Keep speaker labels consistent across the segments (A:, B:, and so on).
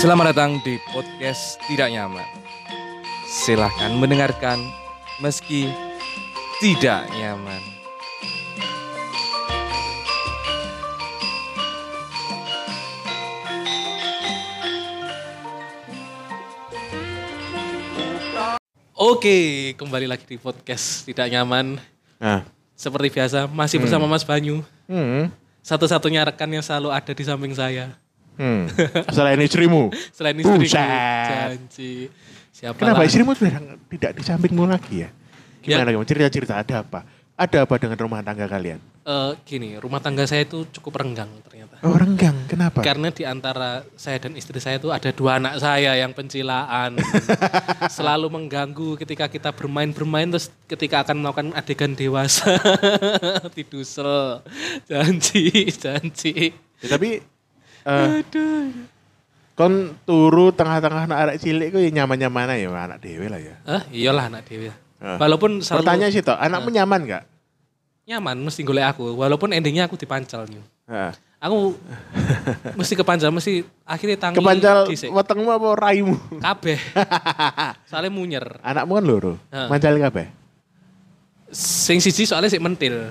A: Selamat datang di podcast Tidak Nyaman. Silahkan mendengarkan meski tidak nyaman.
B: Oke, kembali lagi di podcast Tidak Nyaman.
C: Nah.
B: Seperti biasa, masih bersama Mas Banyu.
C: Hmm.
B: Satu-satunya rekan yang selalu ada di samping saya.
C: Hmm. Selain istrimu.
B: Selain istri
C: Buset.
B: janji. Siapa
C: Kenapa
B: lah?
C: istrimu tidak, tidak di sampingmu lagi ya? Gimana
B: Ya.
C: kamu? Cerita-cerita ada apa? Ada apa dengan rumah tangga kalian?
B: Eh, gini, rumah tangga saya itu cukup renggang ternyata.
C: Oh, renggang. Kenapa?
B: Karena di antara saya dan istri saya itu ada dua anak saya yang pencilaan. selalu mengganggu ketika kita bermain-bermain terus ketika akan melakukan adegan dewasa. Tidusel. Janji, janji.
C: Ya, tapi eh, kon turu tengah-tengah anak arek cilik ku ya nyaman-nyaman aja ya anak dewe lah ya.
B: Eh, iyalah anak dewi.
C: Ah.
B: Walaupun selalu Nah.
C: Pertanyaan sih toh, anakmu nyaman gak?
B: nyaman mesti golek aku, walaupun endingnya aku dipancal Nyu.
C: Heeh.
B: Aku mesti kepancal, mesti akhirnya tangi
C: Kepancal
B: dhisik.
C: wetengmu apa raimu?
B: kabeh. soalnya munyer.
C: Anakmu kan loro.
B: Heeh.
C: Mancal kabeh.
B: Sing siji soalnya sik mentil.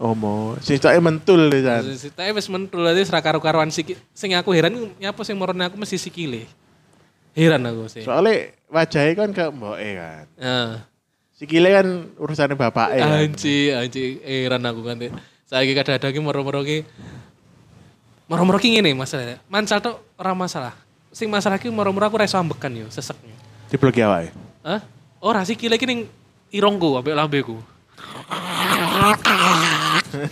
C: Omo, sistoke mentul pisan.
B: Tapi wis mentul aja ra karo-karuan sikil. Sing aku heran nyapa sing morone aku mesti sikile. Heran aku sih. Eh.
C: Soale wajahnya kan ke mboke kan.
B: Heeh.
C: Sikile kan urusannya bapake. kan.
B: Anji, anji, heran aku kan. Saya kadang-kadang ki moro-moro ki moro-moro ki ngene masalahnya. Mancal tok ora masalah. Sing masalah ki moro-moro aku ra iso ambekan yo, seseknya.
C: Dibloki awake.
B: Hah? Ora sih kile ki ning irungku ambek lambeku.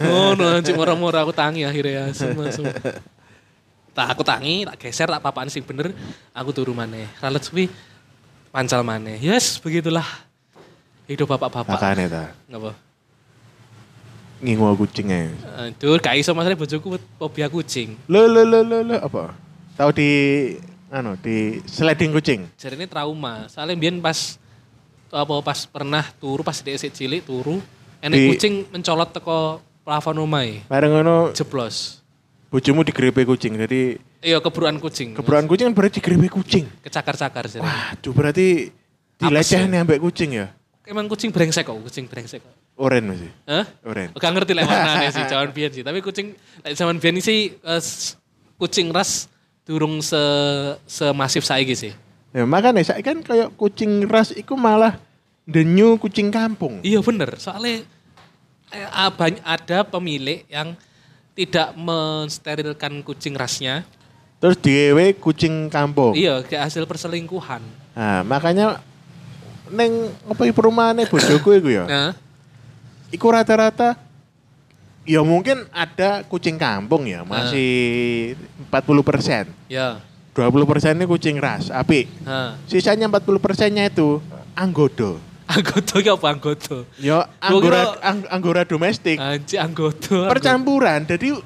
B: Ngono anji moro-moro aku tangi akhirnya ya. Semua, semua. Tak aku tangi, tak geser, tak papaan sing bener, aku turu maneh. Ralet suwi pancal maneh. Yes, begitulah. Hidup bapak-bapak.
C: Makane ta.
B: Ngapa?
C: Ngingu kucing ae.
B: Aduh, Eh, gak iso masalah bojoku fobia kucing.
C: Lo lo lo lo lo apa? Tahu di anu di sliding kucing.
B: Jadi ini trauma. Soalnya biyen pas apa pas pernah turu pas dia isih cilik turu, enek
C: Di-
B: kucing mencolot teko plafon omahe.
C: Bareng ngono
B: Jeblos.
C: bojomu digrepe kucing. Jadi
B: Iya, keburuan kucing.
C: keberan kucing kan berarti digrepe kucing.
B: Kecakar-cakar sih.
C: Aduh berarti dilecehne ambek kucing ya.
B: Emang kucing brengsek kok, kucing brengsek kok.
C: Oren masih.
B: Hah?
C: Oren.
B: Gak ngerti lek warnane sih jaman biyen sih, tapi kucing lek jaman biyen sih eh, s- kucing ras durung se semasif saiki sih.
C: Ya makane saya kan kayak kucing ras iku malah the new kucing kampung.
B: Iya bener, soalnya eh, ah, bany- ada pemilik yang tidak mensterilkan kucing rasnya.
C: Terus diewe kucing kampung.
B: Iya, kayak hasil perselingkuhan.
C: Nah, makanya neng apa ya, perumahane bojoku iku ya.
B: Nah,
C: Iku rata-rata ya mungkin ada kucing
B: Nah.
C: kampung ya masih 40 persen.
B: ya.
C: 20 persennya kucing ras, api.
B: Nah,
C: Sisanya 40 persennya itu anggodo.
B: anggota ki apa anggota?
C: Ya
B: Gua
C: anggora,
B: kira- Ah,
C: ang- anggora domestik.
B: Anji anggota.
C: Percampuran, jadi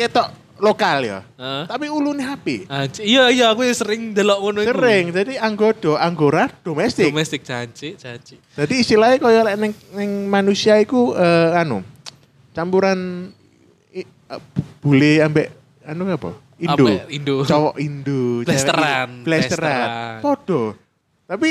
C: ketok lokal ya.
B: Heeh.
C: Tapi ulune api.
B: Anji, iya iya aku sering delok ngono iku.
C: Sering, jadi anggodo, anggora domestik.
B: Domestik janji, janji.
C: Jadi istilahnya kaya lek neng, neng manusia iku eh, anu campuran i- eh, bule ambek anu apa? Indo.
B: Ambek Indo.
C: Cowok Indo. cewek
B: Blasteran,
C: Indo.
B: blasteran.
C: Blasteran. Podo. Tapi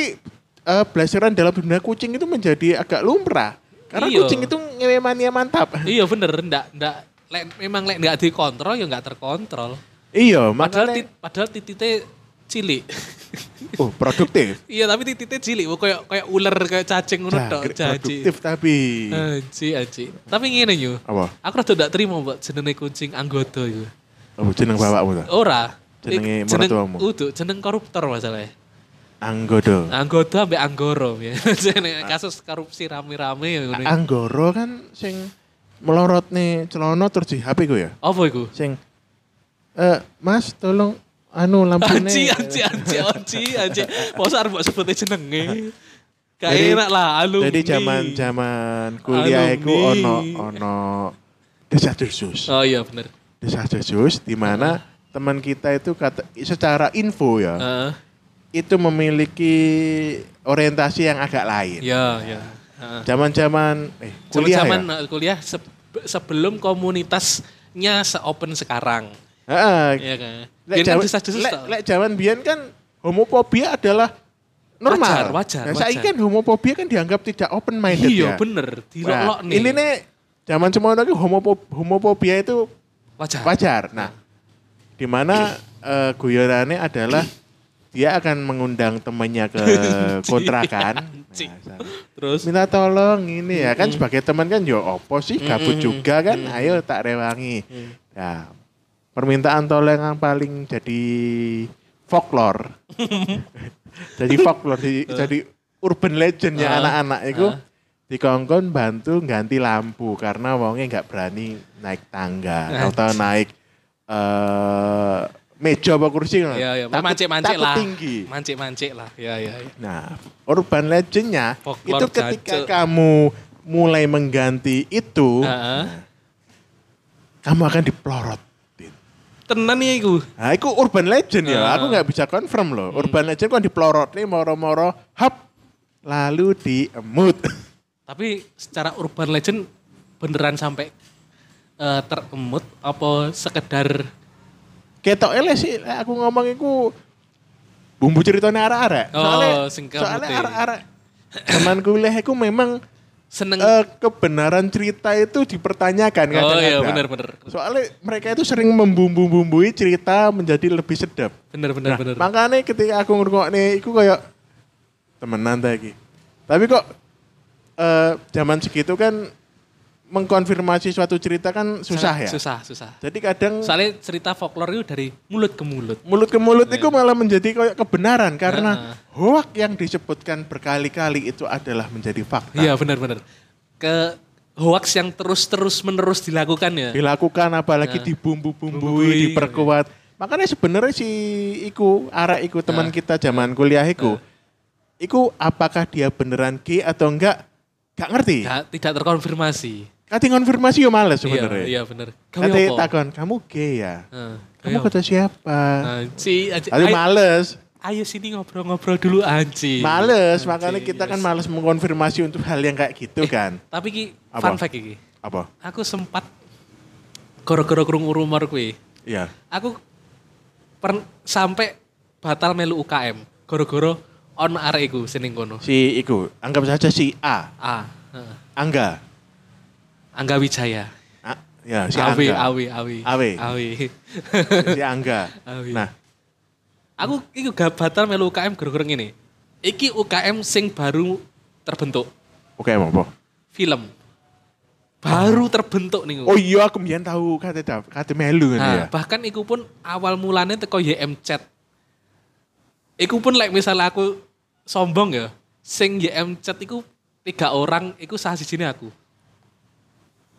C: eh, blasteran dalam dunia kucing itu menjadi agak lumrah. Karena
B: Iya.
C: kucing itu ngewe mania mantap.
B: Iya bener, ndak ndak lek memang lek ndak dikontrol ya nggak terkontrol.
C: iya,
B: Padahal
C: makanya
B: tit- padahal titite cilik.
C: oh, produktif.
B: Iya tapi titiknya cilik, wo, kayak kayak ular kayak cacing ngono tok,
C: Jangkrik
B: caci.
C: produktif tapi
B: Aji, aji. Tapi ngene yo.
C: apa?
B: Aku rada ndak terima mbok jenenge kucing anggota iku.
C: Apa jeneng bapakmu ta?
B: Ora. Eh,
C: Jenenge
B: jeneng-
C: mertuamu.
B: Udu, jeneng koruptor masalahnya.
C: Anggodo.
B: Anggota ambek anggoro ya. Jenenge
C: Ah.
B: kasus korupsi rame-rame ya ngono.
C: Anggoro kan sing melorot nih celana terus di HP ku ya.
B: Apa iku?
C: sing eh mas tolong anu lampune
B: Anji, anji, anji, anji, anji. Masa arep mbok sebutnya jenenge. Gak
C: Jadi-
B: enak lah, alumni.
C: jadi zaman zaman kuliah iku
B: Alumni.
C: ono ono desa desus
B: Oh Ah. iya bener.
C: desa desus di mana teman kita itu kata secara info ya
B: Heeh.
C: itu memiliki orientasi yang agak lain
B: Iya, iya. ah. Heeh.
C: zaman zaman eh
B: Kuliah
C: kuliah
B: zaman
C: ya
B: eh, kuliah se- sebelum komunitasnya se-open sekarang.
C: Heeh.
B: Iya kan.
C: Lek
B: Biyen kan
C: Jawa-
B: desas-desus
C: lek-
B: tau.
C: lek Jawan biyen kan homofobia adalah normal.
B: Wajar, wajar,
C: Nah, saiki
B: wajar.
C: kan homofobia kan dianggap tidak open minded
B: Iya
C: ya.
B: bener,
C: Nah,
B: dilolok nih.
C: ini nih zaman semono iki homopo- homofobia itu
B: wajar.
C: wajar. Nah, di mana eh, guyonannya adalah dia akan mengundang temannya ke kontrakan.
B: Anjing.
C: Nah, sana.
B: Terus
C: minta tolong ini ya kan sebagai teman kan yo opo sih gabut
B: Mm-mm.
C: juga kan ayo tak rewangi
B: Mm.
C: nah permintaan tolong yang paling jadi folklore jadi folklore di-
B: Eh.
C: jadi urban legendnya
B: Ah,
C: anak-anak itu
B: ah.
C: dikongkon bantu ganti lampu karena wongnya nggak berani naik
B: Nah.
C: tangga atau naik eh meja apa kursi
B: ya ya
C: Takut-
B: mancik-mancik
C: takut
B: lah.
C: tinggi
B: Mancik-mancik lah. Ya ya. ya.
C: Nah, urban legendnya
B: Folklore
C: itu ketika
B: jancuk.
C: kamu mulai mengganti itu,
B: Heeh.
C: kamu akan diplorot. Din.
B: Tenan ya iku.
C: Nah, itu urban legend ya.
B: Ah.
C: Aku nggak bisa confirm loh.
B: Hmm.
C: Urban legend kan diplorot nih moro-moro hap lalu diemut.
B: Tapi secara urban legend beneran sampai eh, teremut apa sekedar
C: Ketok ele sih lek aku ngomong iku bumbu ceritanya arek-arek.
B: Oh,
C: Soalnya,
B: sing
C: soalnya
B: kemute.
C: arek-arek zaman kuliah aku memang
B: seneng
C: eh, kebenaran cerita itu
B: Oh
C: dipertanyakan kadang-kadang.
B: iya bener bener.
C: Soalnya mereka itu sering membumbu-bumbui cerita menjadi lebih sedap.
B: Bener bener bener.
C: Makanya ketika aku ngrungokne iku kayak temenan ta iki. Tapi kok eh, zaman segitu kan mengkonfirmasi suatu cerita kan susah ya.
B: Susah, susah.
C: Jadi kadang
B: Soalnya cerita folklore itu dari mulut ke mulut.
C: mulut ke mulut itu malah menjadi kayak kebenaran karena
B: Heeh.
C: hoak yang disebutkan berkali-kali itu adalah menjadi fakta.
B: Iya benar-benar. Ke hoax yang terus-terus menerus dilakukan ya.
C: dilakukan apalagi
B: Nah. Bumbui.
C: dibumbu-bumbui, diperkuat. Makanya sebenarnya si iku, arah
B: Ya.
C: iku teman kita zaman kuliah iku. Iku apakah dia beneran gay atau enggak? Gak ngerti.
B: Nggak- tidak terkonfirmasi.
C: Kati konfirmasi yo
B: Iya,
C: males Iya. sebenarnya.
B: iya benar.
C: Kati takon, kamu gay ya?
B: Heeh.
C: Kamu kata siapa?
B: Nah, Anci, anci.
C: Tapi
B: Ayo,
C: males,
B: ayo sini ngobrol-ngobrol dulu anci.
C: males. Makanya kita
B: iya.
C: kan males mengkonfirmasi untuk hal yang kayak gitu
B: Eh.
C: kan.
B: Tapi ki
C: Apa?
B: fun fact iki.
C: Apa?
B: Aku sempat gara-gara kurung rumor kuwi.
C: Iya.
B: Aku per, sampai batal melu UKM gara-gara on arek iku sening kono.
C: Si iku, anggap saja si A,
B: Ah, heeh.
C: Angga.
B: Angga Wijaya.
C: A- ya, si
B: Awi,
C: Angga.
B: awi, awi.
C: Awi.
B: Awi.
C: Si Angga.
B: Awi.
C: Nah,
B: Aku iku gak batal melu UKM gara-gara ngene. Iki UKM sing baru terbentuk
C: oke mau apa?
B: film. Baru terbentuk nih.
C: Oh iya aku mbiyen tahu kate dap- kate melu kan ya.
B: Nah, bahkan iku pun awal mulane teko YM chat. Iku pun like misalnya aku sombong ya, sing YM chat iku tiga orang iku sah sini aku.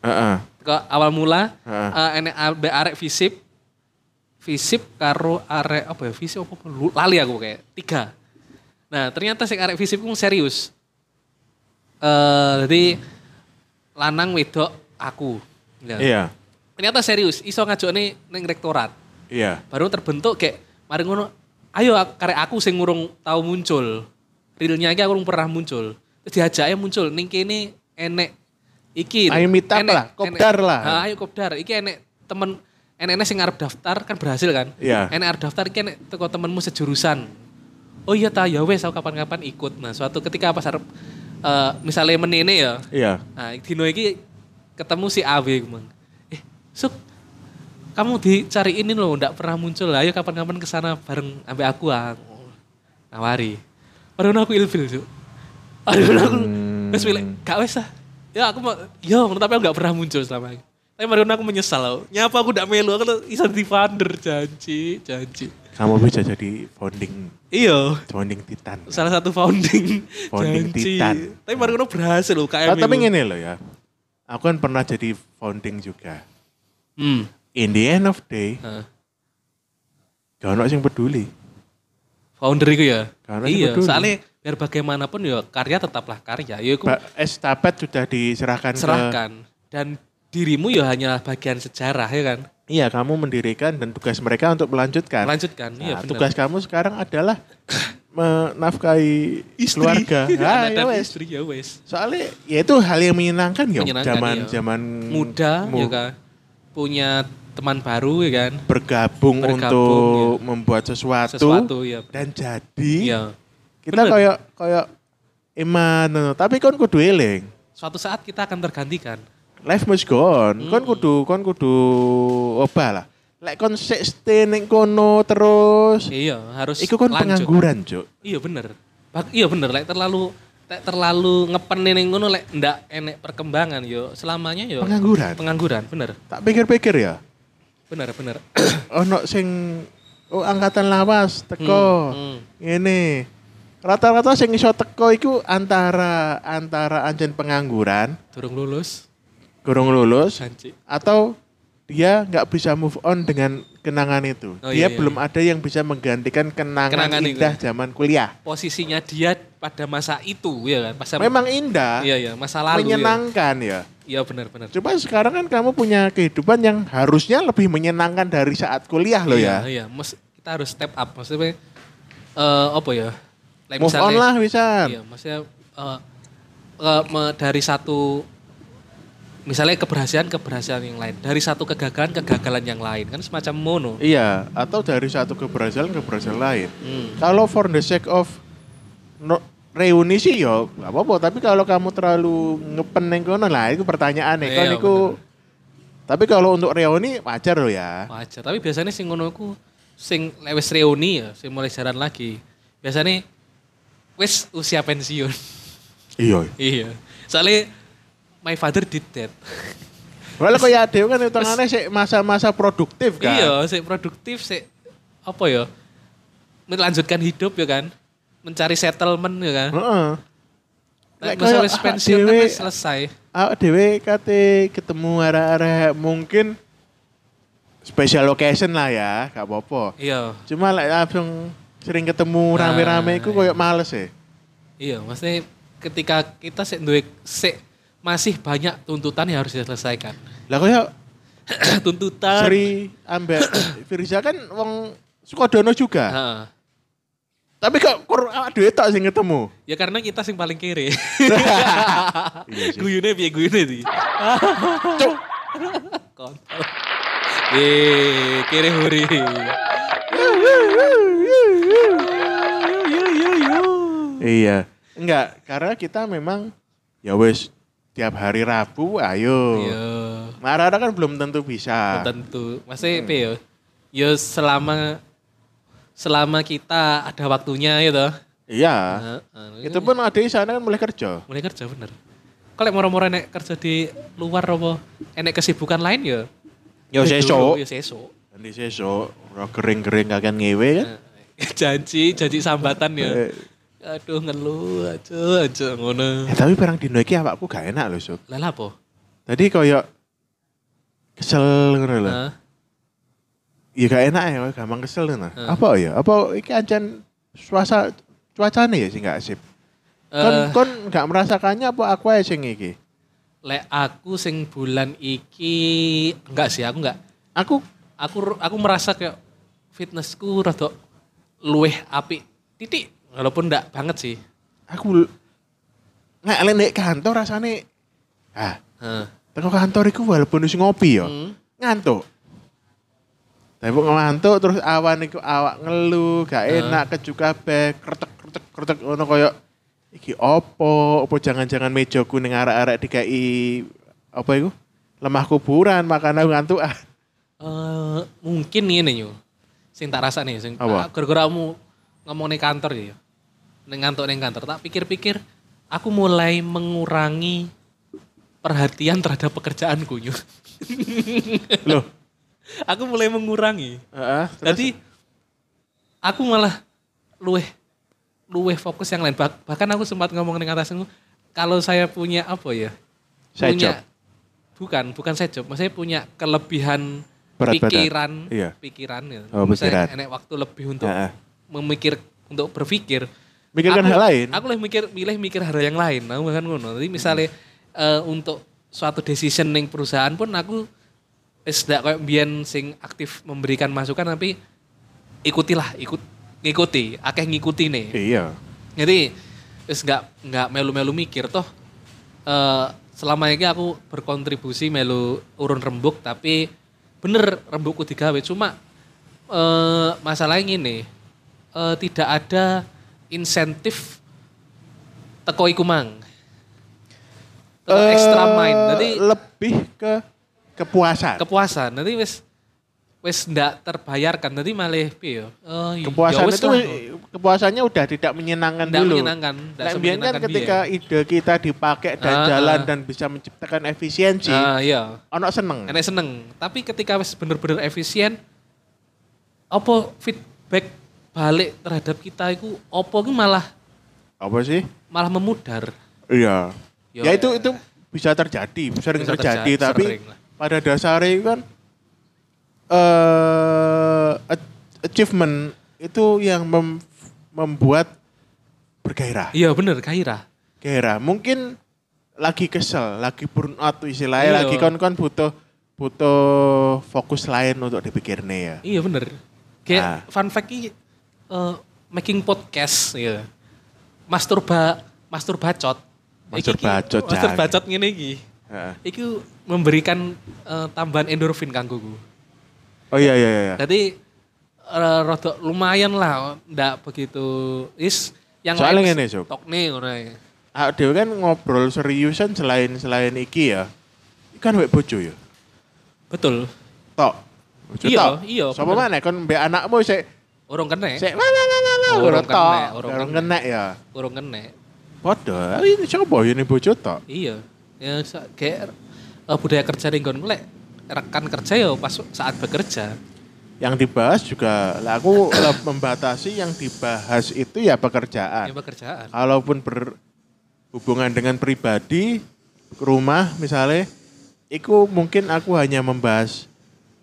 C: Heeh.
B: Teko awal mula
C: Heeh.
B: eh, enek ambek arek Visip. Visip karo arek apa ya? Visip apa? Lu- Lali aku kayak tiga. Nah, ternyata sing arek Visip ku serius. Eh, jadi lanang wedok aku. Ya.
C: Iya.
B: Ternyata serius, iso ngajokne ning rektorat.
C: Iya.
B: baru terbentuk kayak mari ngono ayo ak- karek aku sing ngurung tahu muncul realnya iki aku ngurung pernah muncul terus diajaknya muncul ning kene enek iki
C: Ayo meet up lah, kopdar
B: enek-
C: lah.
B: Ha, ayo kopdar iki enek temen enek sing arep daftar kan berhasil kan
C: Iya.
B: enek arep daftar iki enek teko temenmu sejurusan oh iya ta ya wes aku kapan-kapan ikut nah suatu ketika pas arep eh, misalnya menene ya
C: Iya.
B: Nah, dino iki ketemu si AW mang. Eh, Suk. Kamu dicariin ini loh, ndak pernah muncul. Ayo kapan-kapan ke sana bareng ambek aku ah. Nawari. Padahal aku ilfil, Suk. Padahal aku
C: Hmm.
B: wis wilek, gak wis ah. Ya aku mau, yo, tapi aku gak pernah muncul selama ini. Tapi Marion aku menyesal loh. Nyapa aku gak melu, aku tuh iso divander, janji, janji.
C: Kamu bisa jadi founding
B: Iya,
C: founding titan.
B: salah satu founding,
C: Founding
B: janji.
C: Titan.
B: Tapi Marion berhasil loh, KM.
C: tapi
B: itu.
C: ngene loh ya. Aku kan pernah jadi founding juga.
B: Hmm. nah.
C: In the end of day,
B: Heeh.
C: gak ono sing peduli.
B: founder itu ya.
C: Karena
B: iya,
C: itu dulu.
B: soalnya biar bagaimanapun ya karya tetaplah karya. Ya iku
C: Ba- Estafet sudah diserahkan ke
B: serahkan dan dirimu ya hanya bagian sejarah ya kan.
C: Iya, kamu mendirikan dan tugas mereka untuk melanjutkan.
B: Lanjutkan. iya
C: Nah,
B: benar.
C: tugas kamu sekarang adalah menafkahi
B: Istri. Iya,
C: keluarga. Ah,
B: Anak
C: ya
B: dan
C: wes.
B: istri ya wes.
C: Soalnya
B: iya.
C: ya itu hal yang menyenangkan ya
B: Menyenangkan,
C: zaman
B: iya.
C: zaman
B: Muda
C: mu-
B: ya kan. Punya teman baru ya kan.
C: bergabung,
B: Bergabung, ya.
C: untuk membuat sesuatu,
B: Sesuatu ya.
C: dan jadi
B: Iya.
C: kita
B: Bener.
C: kayak kayak eman no, no. tapi kon kudu eling
B: Suatu saat kita akan tergantikan.
C: life must go on kon
B: Hmm.
C: kudu kon kudu obah lah lek kon sik stay ning kono terus
B: Iya, harus
C: iku kon
B: lanjut.
C: pengangguran cuk
B: Iya bener. Bak- iya bener, lek terlalu lek terlalu ngepen ning ngono lek ndak enek perkembangan yo selamanya yo
C: Pengangguran.
B: Pengangguran, bener.
C: tak pikir-pikir ya
B: Bener, bener.
C: ono sing oh, angkatan lawas teko
B: Hmm, hmm.
C: ini rata-rata sing iso teko iku antara antara anjen pengangguran
B: Durung lulus,
C: gorong lulus
B: janji.
C: atau dia nggak bisa move on dengan kenangan itu.
B: Oh, iya,
C: dia
B: iya.
C: belum ada yang bisa menggantikan kenangan,
B: Kenangan itu. ya.
C: indah zaman kuliah.
B: Posisinya dia pada masa itu ya kan, masa
C: Memang indah,
B: Iya, iya, masa lalu ya.
C: menyenangkan ya.
B: Iya bener, bener.
C: Cuma sekarang kan kamu punya kehidupan yang harusnya lebih menyenangkan dari saat kuliah loh
B: iya,
C: ya.
B: Iya, Mes- kita harus step up. Maksudnya, eh apa ya? Like
C: move on lah bisa.
B: Iya, maksudnya eh, eh, me- dari satu, misalnya keberhasilan-keberhasilan yang lain. Dari satu kegagalan-kegagalan yang lain. Kan semacam mono.
C: Iya, atau dari satu keberhasilan ke keberhasilan lain.
B: Hmm.
C: Kalau for the sake of no, reuni sih yo nggak apa-apa tapi kalau kamu terlalu ngepen neng kono lah itu pertanyaan
B: Iya,
C: kan iku tapi kalau untuk reuni wajar loh ya
B: Wajar. Tapi biasanya sing ngono iku sing lewes reuni ya, sing mulai jalan lagi. Biasanya wis usia pensiun.
C: iya
B: iya. Soalnya my father did that.
C: Walau kayak Dewi kan hitungannya sih masa-masa produktif kan.
B: Iya, sik produktif, sik apa ya? Melanjutkan hidup ya kan. Mencari settlement ya kan.
C: Heeh.
B: Lek
C: Lek
B: masalah
C: kayak
B: pensiun kan
C: dhewe-
B: wis selesai.
C: Awak Dewi kate ketemu arah-arah mungkin special location lah ya, gak apa-apa.
B: Iya,
C: Cuma lek langsung sering
B: Nah,
C: ketemu rame-rame iku koyo males ya.
B: iya, maksudnya ketika kita sik duwe sik masih banyak tuntutan yang harus diselesaikan.
C: Lah koyo kan
B: tuntutan.
C: Sri ambek Firza kan wong Sukodono juga.
B: Heeh.
C: Tapi kok kur awak Dewi tok sing ketemu.
B: Ya karena kita sing paling kiri.
C: Iya sih.
B: guyune piye guyune iki?
C: Cuk.
B: Kontol. Ye, kiri huri. Yo yo yo.
C: Iya. Enggak, karena kita memang ya wes tiap hari Rabu ayo.
B: Yo.
C: Marara kan Iya. belum tentu bisa.
B: Iya. Tentu.
C: Hmm.
B: Masih apa ya? Yo selama selama kita ada waktunya gitu.
C: Iya.
B: Heeh.
C: Itu pun ada di sana kan mulai kerja.
B: mulai kerja bener. Kalau lek moro-moro enek kerja di luar apa enek kesibukan lain ya.
C: Ya, sesuk.
B: Ya sesuk.
C: Nanti sesuk ora kering-kering akan ngewe kan.
B: Nah, janji janji sambatan ya
C: Eh.
B: aduh ngeluh aja aja ngono
C: Eh, tapi perang dino iki awakku gak enak loh, Sob.
B: lah apa
C: Tadi koyo kesel ngono lho.
B: Hah?
C: Ya gak enak ya, gampang kesel ngono. Apa ya? Apa iki ancen suasa cuacane ya sih gak asik. Kon
B: Eh,
C: kon gak merasakannya apa aku ae sing iki?
B: lek aku sing bulan iki enggak sih aku enggak
C: Aku
B: aku aku merasa kayak fitnessku rada luweh apik titik walaupun enggak banget sih
C: aku nggak nek kantor rasane ah
B: Heeh.
C: teko kantor iku walaupun wis ngopi ya
B: Hmm.
C: ngantuk tapi kok ngantuk terus awan iku awak ngeluh gak enak keju kabeh kretek kretek kretek ngono koyo iki opo opo jangan-jangan mejoku ning arek-arek dikai apa iku lemah kuburan makan aku ngantuk ah
B: Eh, mungkin ini yo sing tak rasa nih sing
C: Apa?
B: ah, gara-gara kamu ngomong di kantor ya neng ngantuk neng kantor tak pikir-pikir aku mulai mengurangi perhatian terhadap pekerjaanku yo
C: loh
B: aku mulai mengurangi
C: heeh terus
B: jadi aku malah luweh luweh fokus yang lain Bah- bahkan aku sempat ngomong dengan atasanku kalau saya punya apa ya
C: Side
B: punya
C: job.
B: bukan bukan saya job maksudnya punya kelebihan
C: Berat badan.
B: pikiran
C: Iya.
B: pikiran ya
C: Oh,
B: Maksudnya
C: pikiran.
B: enek waktu lebih untuk
C: Heeh.
B: memikir untuk berpikir
C: Mikirkan
B: Aku-
C: hal lain. Hmm.
B: aku lebih mikir milih mikir hal yang lain aku bahkan ngono jadi misalnya eh, untuk suatu decision yang perusahaan pun aku wis ndak kayak biyen sing aktif memberikan masukan tapi ikutilah ikut ngikuti akeh ngikuti nih
C: iya
B: jadi terus nggak nggak melu-melu mikir toh eh selama ini aku berkontribusi melu urun rembuk tapi bener rembukku digawe cuma eh masalahnya gini eh, tidak ada insentif teko iku mang Teko extra
C: Eh,
B: mind nanti
C: lebih ke kepuasan.
B: kepuasan nanti wis wis ndak terbayarkan nanti malah piye ya? Eh, ya
C: kepuasan
B: wis
C: itu
B: lah.
C: kepuasannya udah tidak menyenangkan
B: ndak
C: dulu.
B: menyenangkan ndak
C: Nah, biar kan
B: semenyenangkan iya.
C: ketika ide kita dipakai dan
B: Ah,
C: jalan
B: ah.
C: dan bisa menciptakan
B: biyen.
C: efisiensi,
B: ah iya
C: ono seneng.
B: enak seneng tapi ketika wis bener-bener efisien apa feedback balik terhadap kita itu apa itu malah
C: Apa sih?
B: malah memudar
C: Iya.
B: Yo,
C: ya itu
B: ya.
C: itu bisa terjadi, sering
B: Bisa
C: terjadi,
B: terja-
C: tapi
B: sering lah.
C: pada dasarnya itu kan eh a- achievement itu yang mem- membuat bergairah.
B: iya bener gairah
C: Gairah. Mungkin lagi kesel, lagi burnout istilahnya,
B: Iya.
C: lagi kon-kon butuh butuh fokus lain untuk dipikirnya ya.
B: iya bener
C: Ah.
B: kayak fun fact ini eh, making podcast ya masturba masturbacot
C: Masturbacot, Cak.
B: masturbacot ngene iki
C: Heeh.
B: Iku memberikan eh, tambahan endorfin kanggo ku.
C: Oh iya iya iya.
B: Jadi eh, rodok lumayan lah, ndak begitu is yang lain
C: Soalnya
B: ya.
C: ngene,
B: wis
C: Sob.
B: tok nih ngono ae.
C: Ah, dewe kan ngobrol seriusan selain selain iki ya. Ikan wek bojo ya.
B: Betul.
C: Tok. Bojo
B: Iya,
C: tok.
B: iya,
C: Sapa
B: bener.
C: mana kon mbek anakmu sik
B: Urung kene,
C: sik wah wah wah wah wah
B: Urung
C: urung
B: kena,
C: tok.
B: urung
C: Urung
B: kena.
C: kena ya.
B: urung kene.
C: Podo. ah, Ini sapa ya ini bojo tok.
B: Iya. Ya sa- kayak eh, budaya kerja ning nggonku lek rekan kerja ya pas saat bekerja.
C: Yang dibahas juga lah aku le- membatasi yang dibahas itu ya
B: Ya
C: pekerjaan.
B: pekerjaan.
C: Kalaupun berhubungan dengan pribadi, ke rumah misalnya, iku mungkin aku hanya membahas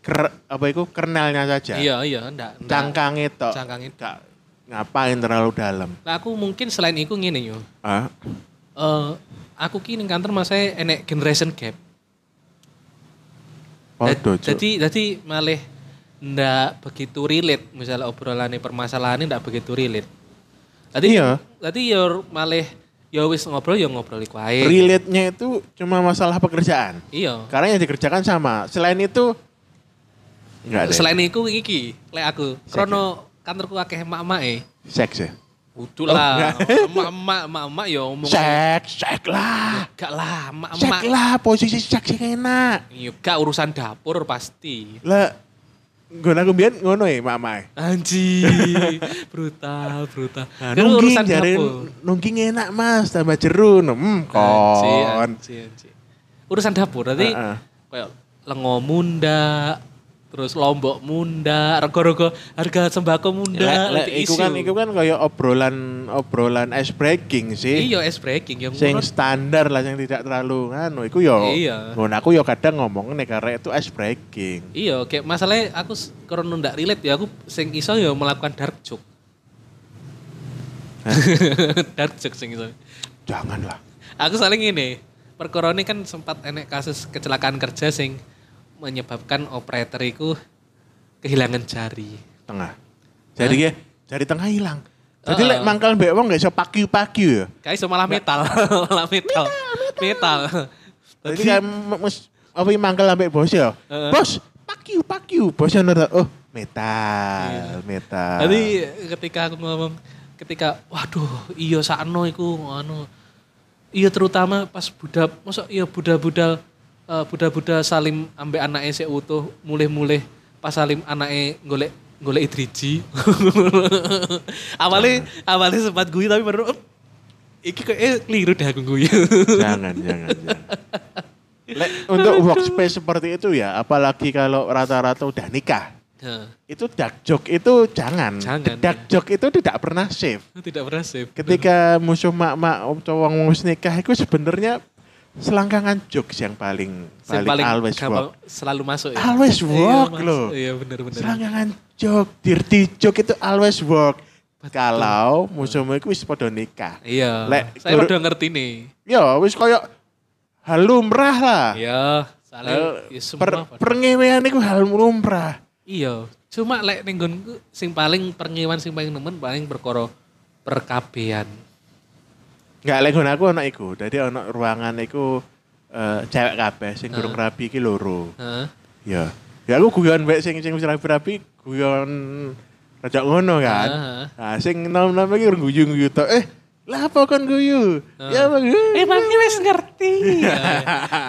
C: ker, apa itu kernelnya saja.
B: Iya, iya, ndak. ndak.
C: cangkange tok.
B: Cangkange.
C: Gak ngapain terlalu dalam.
B: Lah aku mungkin selain iku ngene yo.
C: Ah,
B: Eh aku ki ning kantor masih enek generation gap.
C: podo
B: Dad- Jadi jadi malah ndak begitu relate misalnya obrolannya permasalahannya ndak begitu relate. Tadi
C: Iya.
B: Tadi ya malah ya wis ngobrol ya ngobrol iku ae.
C: Relate-nya itu cuma masalah pekerjaan.
B: Iya.
C: Karena yang dikerjakan sama. Selain itu enggak ada.
B: Selain iku iki lek aku krono kantorku akeh emak-emake.
C: seks ya.
B: Udah lah, emak-emak, emak-emak ya omong
C: Seks, seks lah.
B: gak lah,
C: Seks
B: emak-emak.
C: lah, posisi seks yang enak.
B: Iya, gak urusan dapur pasti.
C: Lah ngono aku mbiyen ngono ya mamae.
B: Anji, brutal, brutal.
C: Nah,
B: Kan
C: nungging jare nungging enak Mas, tambah jeru.
B: Anjir,
C: Hmm, kon.
B: anjir, anjir. Urusan dapur tadi
C: Heeh.
B: kayak lengo munda, terus lombok munda, rego-rego harga sembako munda.
C: Lek- lek
B: nanti
C: iku kan
B: isu.
C: iku kan kaya obrolan obrolan ice breaking sih.
B: Iya, es breaking yang
C: Sing
B: ngono.
C: standar lah yang tidak terlalu nganu iku yo.
B: Iya.
C: Ngono aku yo kadang ngomong nek karek itu ice breaking.
B: Iya, kayak masalahnya aku s- karena ndak relate ya aku sing iso ya melakukan dark joke. dark joke sing iso.
C: Janganlah.
B: Aku saling ini, perkara ini kan sempat enek kasus kecelakaan kerja sing menyebabkan operator iku kehilangan jari.
C: Tengah. Jadi ya, jari tengah hilang. Jadi
B: Heeh.
C: lek mangkal mbek wong gak iso pakyu-pakyu ya.
B: Guys, malah metal, malah metal, metal.
C: Jadi kayak m- mes- apa yang mangkel ambek bos ya. Bos, pakyu pakyu. Bosnya nonton, oh metal, metal.
B: Iya. Jadi ketika aku ngomong, ketika waduh, iya sakno iku anu. Iya terutama pas budak, masa iya budak-budak eh, budak-budak salim ambek anake sik utuh, mulih-mulih pas salim anake golek golek idriji. awalnya awalnya sempat gue tapi baru "Ep, iki kok eh, keliru deh aku gue.
C: jangan, jangan, jangan. Lek, untuk workspace seperti itu ya, apalagi kalau rata-rata udah nikah.
B: Nah.
C: Itu dark joke itu jangan.
B: Jangan,
C: Dark joke itu tidak pernah safe.
B: Tidak pernah safe.
C: Ketika musuh mak-mak cowok wis nikah itu sebenarnya selangkangan jokes yang paling
B: Sing
C: paling, always
B: gampang
C: work.
B: selalu masuk ya.
C: Always
B: Iya,
C: work
B: masuk.
C: loh.
B: Iya benar benar.
C: Selangkangan joke, dirty joke itu always work. Kalau musuhmu itu wis podo nikah.
B: Iya.
C: Lek,
B: saya
C: guru-
B: udah ngerti nih.
C: Ya wis koyo hal lumrah lah.
B: Iya, soalnya
C: Hal-
B: ya semua
C: Ah. Eh, per,
B: pada-
C: perngewean itu hal lumrah.
B: Iya, cuma lek ning nggonku sing paling perngiwan sing paling nemen paling perkara perkabean.
C: Enggak lek ngono aku ana iku. Dadi ana
B: Eh.
C: ruangan iku eh, cewek kabeh sing durung rapi iki loro.
B: Heeh.
C: Ya. Ya aku guyon baik sing sing wis rapi-rapi guyon rada ngono kan.
B: Heeh.
C: Nah, sing nom-nom iki guyu-guyu tok. Eh, lah apa kon guyu?
B: Eh.
C: Ya bang.
B: Emangnya wes ngerti. Iya.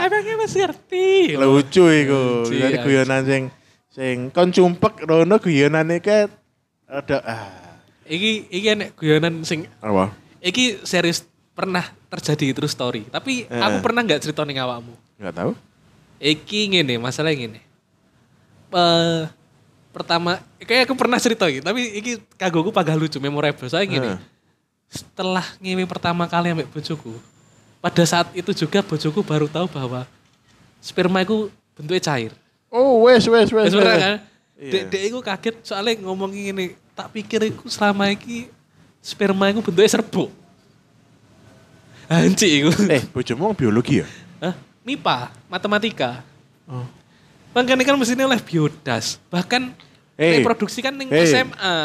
B: Emangnya wes ngerti.
C: lucu iku.
B: Lucu,
C: Jadi
B: ya.
C: guyonan sing sing kon cumpek rono guyonane ket ada ah
B: Iki iki enek guyonan sing
C: apa?
B: iki serius pernah terjadi true story. Tapi
C: Eh.
B: aku pernah nggak cerita ning awakmu.
C: Enggak tahu.
B: Iki ngene, masalah ngene. Eh pertama, kayak aku pernah cerita iki, tapi iki kagoku pagah lucu, memorable. Saya ngene.
C: Eh.
B: Setelah ngewe pertama kali ambek bojoku, pada saat itu juga bojoku baru tahu bahwa sperma iku bentuknya cair.
C: Oh, wes wes wes.
B: Sebenarnya
C: wes.
B: kan,
C: Iya.
B: dek dek iku kaget soalnya ngomong ini, tak pikir iku selama iki sperma iku bentuknya serbuk. Anci iku.
C: Eh, bojomu wong biologi ya?
B: Hah? MIPA, matematika.
C: Oh.
B: Makanya kan mesinnya oleh biodas. Bahkan
C: Hey.
B: reproduksi kan yang
C: Hey.
B: SMA.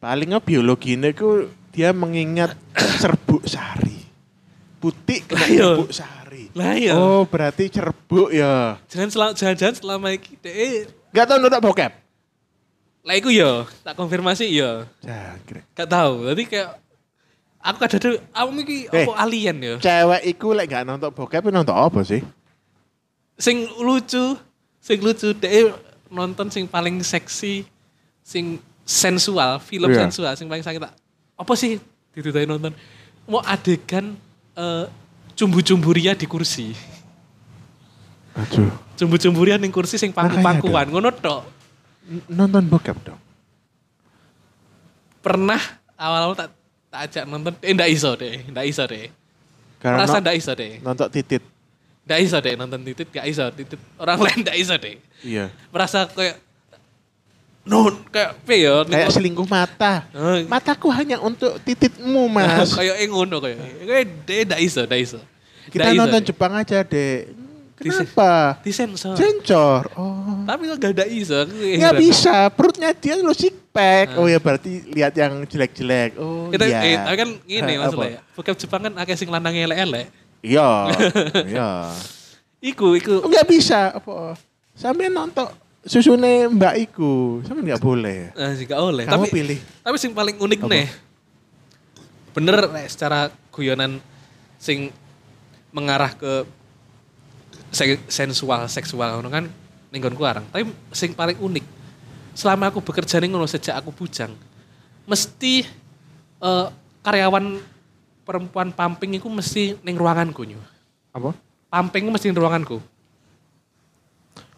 C: Palingnya biologine ku dia mengingat serbuk sari. Putih kena
B: Lah, iya.
C: serbuk sari.
B: Lah iya.
C: Oh, berarti serbuk ya.
B: Jangan selama jangan selama ini deh.
C: Gak tau nonton bokep.
B: Lah iku ya, tak konfirmasi ya.
C: Jangkrik.
B: Gak tahu. Jadi kayak aku kadang aku iki
C: Hey.
B: apa alien ya.
C: Cewek iku lek gak nonton bokep ya nonton apa sih?
B: Sing lucu, sing lucu deh nonton sing paling seksi, sing sensual, film
C: Iya.
B: sensual sing paling sakit tak. Apa sih ditutai nonton? Mau adegan eh, cumbu-cumbu ria di kursi.
C: Aduh.
B: cumbu-cumburian yang kursi sing paku-pakuan
C: Makanya
B: ngono tok.
C: N- Nonton bokep dong.
B: Pernah awal-awal tak tak ajak nonton eh ndak iso deh, ndak iso deh.
C: Karena
B: Rasa ndak iso deh.
C: nonton titit.
B: Ndak iso deh nonton titit gak iso, titit orang lain ndak iso deh.
C: Iya.
B: Merasa kayak no kayak ya, pe yo
C: Kayak selingkuh mata.
B: Eh.
C: Mataku hanya untuk tititmu, Mas.
B: kayak eh ngono kayak. Kayak deh ndak iso, ndak iso. Ndak
C: Kita
B: iso,
C: nonton
B: Dek.
C: Jepang aja, Dek. Hmm,
B: Disen-
C: Kenapa?
B: disensor.
C: Cencor. Oh.
B: Tapi kok gak ndak iso. aku
C: Nggak
B: heran.
C: bisa, perutnya dia lo six pack. Oh ya berarti lihat yang jelek-jelek. Oh
B: Kita
C: iya.
B: Ah. eh, tapi kan gini
C: Eh, apa?
B: masalahnya. Bokep Jepang kan akeh sing lanang elek-elek.
C: Iya, iya.
B: Iku iku
C: Oh, Nggak bisa, apa? Sampai nonton susune mbak iku, sampai nggak boleh.
B: Eh, jika oleh.
C: Kamu
B: tapi,
C: pilih.
B: Tapi sing paling unik
C: Apa?
B: nih. Bener nek secara guyonan sing mengarah ke se- sensual seksual ngono kan ninggonku arang. Tapi sing paling unik selama aku bekerja ning ngono sejak aku bujang mesti eh, karyawan perempuan pumping iku mesti ning ruanganku nyu.
C: Apa?
B: Pumping mesti ning ruanganku.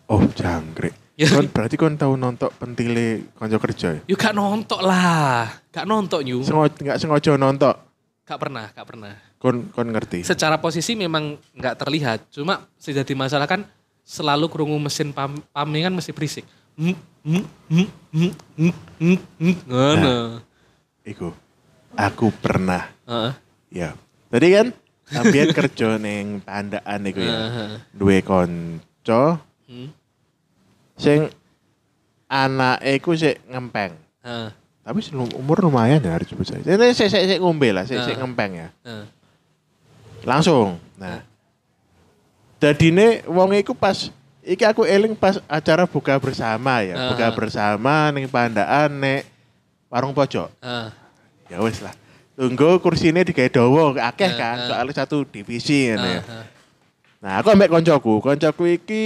C: Oh jangkrik.
B: Ya.
C: Kon, berarti kon tahu nonton pentile konco kerja ya?
B: Yo gak nontok lah. Gak nontok nyu.
C: Sengaja nggak sengaja nonton,
B: Gak pernah, gak pernah.
C: kon kon ngerti.
B: secara posisi memang nggak terlihat. Cuma sejati masalah kan selalu kerungu mesin pam pamnya kan mesti berisik. Hmm, hmm, hmm, hmm, hmm, hmm, hmm, Ngono.
C: Nah. Iku, aku pernah.
B: Heeh.
C: Ya, tadi kan sampean kerja neng tandaan iku ya.
B: Heeh.
C: Dua konco,
B: Hmm.
C: sing anake ku sik ngempeng.
B: Heeh.
C: Tapi sing umur lumayan ya harus bisa. Ini sik sik sik ngombe lah, sik sik
B: Nah.
C: ngempeng ya.
B: Heeh.
C: Langsung. Nah. Dadine wong iku pas iki aku eling pas acara buka bersama ya.
B: Nah.
C: Buka bersama ning pandaan nek warung pojok.
B: Heeh.
C: Ya wis lah. Tunggu kursine digawe dawa akeh
B: Nah,
C: kan,
B: nah.
C: soalnya satu divisi ngene ya.
B: Heeh.
C: Nah, aku ambek koncoku, koncoku iki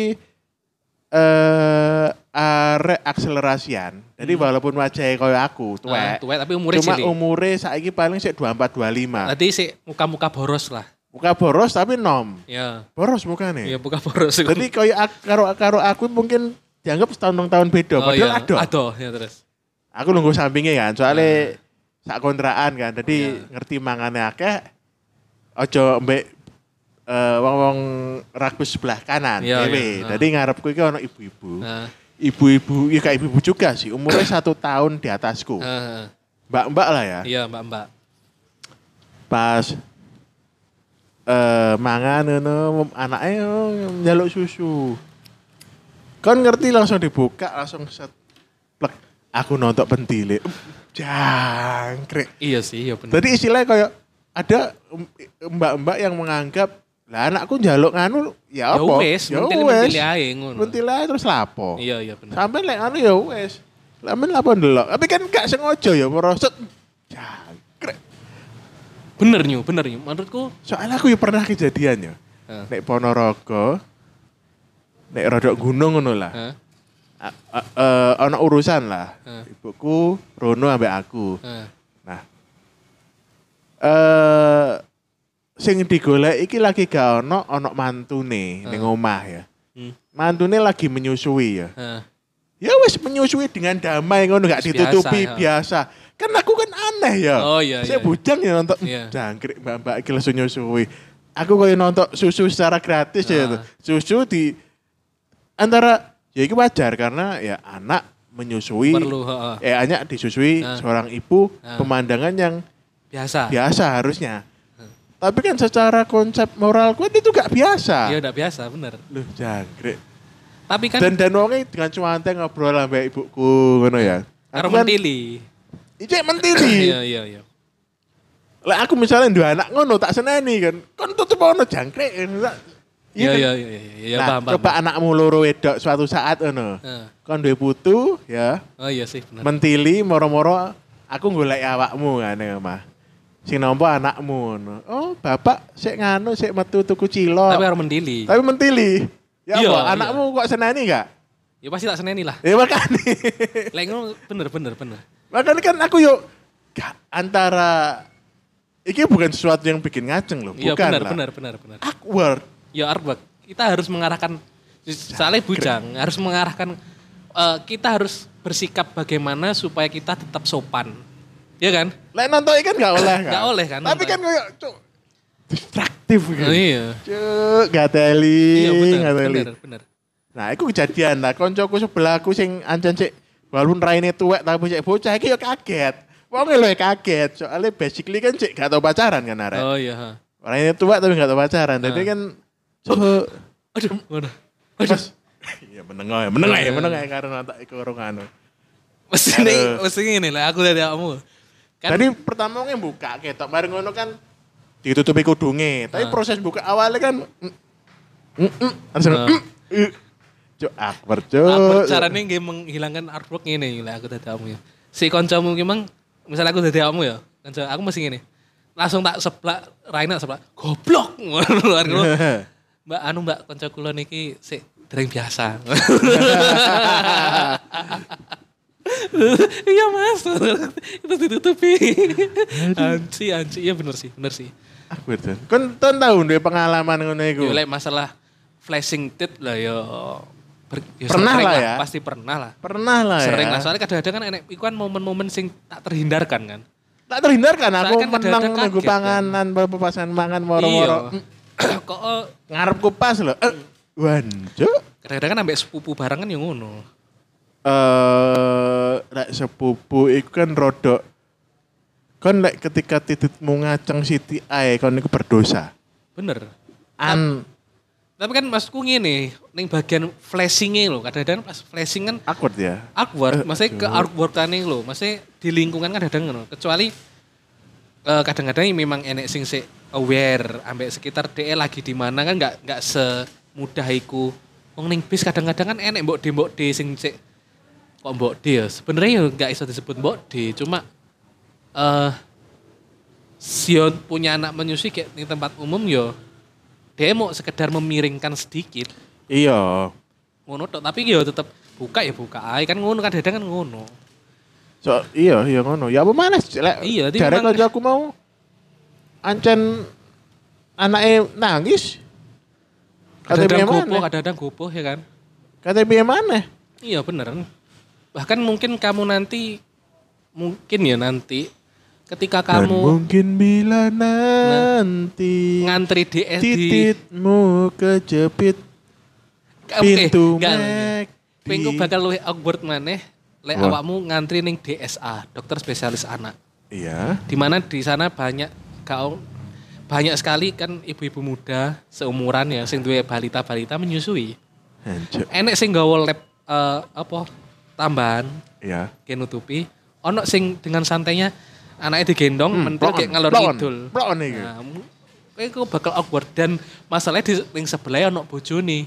C: eh arek akselerasian. Jadi walaupun wajahnya kaya aku,
B: Heeh,
C: tuwek.
B: Hmm. Ah, Nah, Tuwek tapi umurnya
C: Cuma Nah.
B: cilik.
C: umure saiki paling sik 24 25.
B: Tadi sih muka-muka boros lah.
C: Muka boros tapi nom.
B: Ya.
C: Boros
B: Ya
C: mukane.
B: muka boros.
C: Jadi kaya ak- karo karo aku mungkin dianggap setahun tahun beda,
B: Oh,
C: padahal
B: iya.
C: adoh.
B: Adoh, ya terus.
C: Aku nunggu sampingnya kan, soalnya sak kontraan kan. Jadi
B: Nah. Iya.
C: ngerti mangane akeh. Ojo mbek eh, wong-wong rakus sebelah kanan.
B: Iya,
C: ewe.
B: iya. Nah.
C: Jadi ngarepku iki ono ibu-ibu.
B: Heeh.
C: ibu-ibu, ya kayak ibu-ibu juga sih, umurnya satu tahun di atasku.
B: Heeh.
C: Mbak-mbak lah ya,
B: Nah. Iya, Mbak-mbak.
C: pas eh mangan ngono anaknya njaluk susu. Kan ngerti langsung dibuka, langsung set. Plek. Aku nonton pentile. Jangkrik.
B: Iya sih, iya bener.
C: Tadi istilahnya kayak ada em- mbak-mbak yang menganggap Lah anakku njaluk nganu
B: Ya
C: ya apa?
B: wis, mentil-mentil ae ngono.
C: Mentil ae terus lapo.
B: Iya iya bener.
C: Sampai lek anu ya wis. Lah men lapo ndelok. Tapi kan gak sengaja ya merosot. Jangkrik.
B: Bener nyu, bener nyu. Menurutku
C: Soalnya aku ya pernah kejadian ya.
B: Heeh.
C: Nek Ponorogo nek rodok gunung ngono lah.
B: Heeh.
C: A- a- eh, Ono urusan lah.
B: Heeh.
C: Ibuku Rono ambek aku.
B: heeh.
C: Nah. Eh sing digolek iki lagi gak ono ono mantune ning omah ya.
B: Hmm.
C: Mantune lagi menyusui ya.
B: heeh.
C: Ya wis menyusui dengan damai ngono gak
B: Biasa,
C: ditutupi
B: ya.
C: biasa. Kan aku kan aneh ya.
B: Oh, iya, iya,
C: Saya
B: iya.
C: bujang ya nonton
B: Iya.
C: jangkrik mbak-mbak iki lesu nyusui. Aku koyo nonton susu secara gratis ya.
B: Ah.
C: Susu di antara ya itu wajar karena ya anak menyusui
B: Perlu, heeh.
C: eh anak disusui
B: Ah.
C: seorang ibu
B: Ah.
C: pemandangan yang
B: Biasa.
C: biasa harusnya.
B: Ah.
C: Tapi kan secara konsep moral kuat itu gak
B: Ya
C: biasa.
B: udah biasa, bener.
C: Loh jangkrik.
B: Tapi kan
C: Dan dan wongnya dengan cuante ngobrol sama ibuku ngono ya.
B: karo
C: Aku kan-
B: mentili.
C: Ijek mentili.
B: Iya iya iya.
C: Lah aku misalnya dua anak ngono tak seneni kan. Kon tutup ono jangkrik.
B: Iya
C: kan?
B: iya iya iya, iya
C: Nah,
B: paham Ah. paham.
C: coba anakmu loro wedok suatu saat ngono.
B: Heeh.
C: Kon duwe putu ya,
B: Oh iya sih bener.
C: mentili moro-moro aku golek awakmu kan ya mah. Sing nampa anakmu ngono. Oh, bapak sik nganu sik metu tuku cilok.
B: Tapi karo mentili.
C: Tapi mentili. Ya
B: Iya,
C: apa, anakmu kok seneni gak?
B: Ya pasti tak seneni lah.
C: Ya makanya.
B: Lek ngono bener bener bener.
C: makanya kan aku yuk gak, antara ini bukan sesuatu yang bikin ngaceng loh,
B: Iya
C: bukan
B: bener
C: lah.
B: bener bener bener.
C: Awkward.
B: ya artwork kita harus mengarahkan soalnya
C: Nah,
B: bujang harus mengarahkan eh, kita harus bersikap bagaimana supaya kita tetap sopan ya kan
C: Lek nonton ikan gak oleh kan?
B: Gak oleh kan,
C: Tapi
B: nonton.
C: kan kayak cuk distraktif gitu.
B: Oh, iya
C: Cuk, gateli,
B: iya benar
C: gateli.
B: benar benar
C: Nah, itu kejadian lah. Koncoku sebelahku sing ancen sik walaupun raine tuwek tapi sik bocah iki yo kaget. Wong e lho kaget, soalnya basically kan sik gak tau pacaran kan arek.
B: oh iya ha.
C: Raine tuwek tapi gak tau pacaran. Tapi kan so,
B: aduh mana
C: Mas. Iya menengah, menengah
B: Oh.
C: ya, menengah ya karena tak iku urung anu.
B: mesti ini mesti ini lah aku dari kamu kan
C: Tadi pertama e nge buka ketok, mari ngono kan ditutupi kudunge.
B: Oh.
C: Tapi proses buka awalnya kan mm, mm, mm, harus
B: Oh.
C: mm, mm, Cuk, akbar, cuk.
B: Apa caranya nggih menghilangkan artwork ini lah aku dari kamu ya si koncomu memang misal aku dari kamu ya konco aku masih ini langsung tak sebelah Raina sebelah goblok luar Mbak anu Mbak kanca kula niki sik dereng biasa. iya Mas. Itu ditutupi. anci anci iya bener sih, bener sih.
C: Akbar, cuk. Kon kon tahu duwe pengalaman ngono iku.
B: Yo lek masalah flashing tit lah yo ber- yo
C: Pernah
B: sering
C: lah ya.
B: pasti pernah lah.
C: Pernah lah ya.
B: Sering lah, soalnya kadang-kadang kan enek iku kan momen-momen sing tak terhindarkan kan.
C: Tak terhindarkan aku
B: Soalnya kan
C: menang
B: kadang-kadang
C: nunggu
B: kaget, kan. Iya.
C: panganan, pepasan mangan moro-moro. Mm,
B: Kok eh,
C: Ngarep kupas lho. Eh, Wan, cuk.
B: kadang-kadang kan ambek sepupu bareng kan yo ngono.
C: eh lek sepupu iku kan rodok kan lek ketika tititmu ngaceng siti ae kon iku berdosa.
B: Bener.
C: An
B: Tapi kan maksudku ngene, ning bagian flashingnya loh, kadang-kadang pas flashing kan
C: awkward ya.
B: awkward, maksudnya ke outwardane loh, maksudnya di lingkungan kadang-kadang ngono. Kecuali eh, kadang-kadang ini memang enek sing sik aware ambek sekitar DE lagi di mana kan nggak nggak semudah iku. Wong ning bis kadang-kadang kan enek mbok de mbok de sing sik kok mbok de ya. Sebenarnya ya nggak iso disebut mbok de, cuma eh Sion punya anak menyusui kayak di tempat umum yo. Dia mau sekedar memiringkan sedikit
C: Iya.
B: ngono tok tapi yo tetep buka ya buka ae kan ngono kan kadang kan ngono
C: So, iya, iya ngono. Ya apa mana sih, lek
B: Iya, tapi
C: jare
B: memang-
C: kanca aku mau ancen anake nangis. Kata piye
B: kadang gopoh
C: mana?
B: kadang gopoh ya kan
C: Kata piye mana?
B: iya bener bahkan mungkin kamu nanti mungkin ya nanti ketika
C: Dan
B: kamu
C: mungkin bila nanti
B: ngantri di di
C: tititmu kejepit
B: Oke,
C: pintu
B: enggak.
C: Mac
B: Pengko
C: di-
B: bakal luwih awkward maneh lek
C: Wah.
B: awakmu ngantri ning DSA dokter spesialis anak
C: Iya.
B: di mana di sana banyak kaum banyak sekali kan ibu-ibu muda seumuran ya sing duwe balita-balita menyusui
C: Hancur.
B: enek sing nggawa lab eh, apa tambahan
C: Ya.
B: kayak nutupi ono sing dengan santainya anaknya digendong mentil kayak ngalor
C: Hmm, plon,
B: ngidul
C: plon iki.
B: nah, m- Kayak kok bakal awkward dan masalahnya di ring sebelah ono bojone.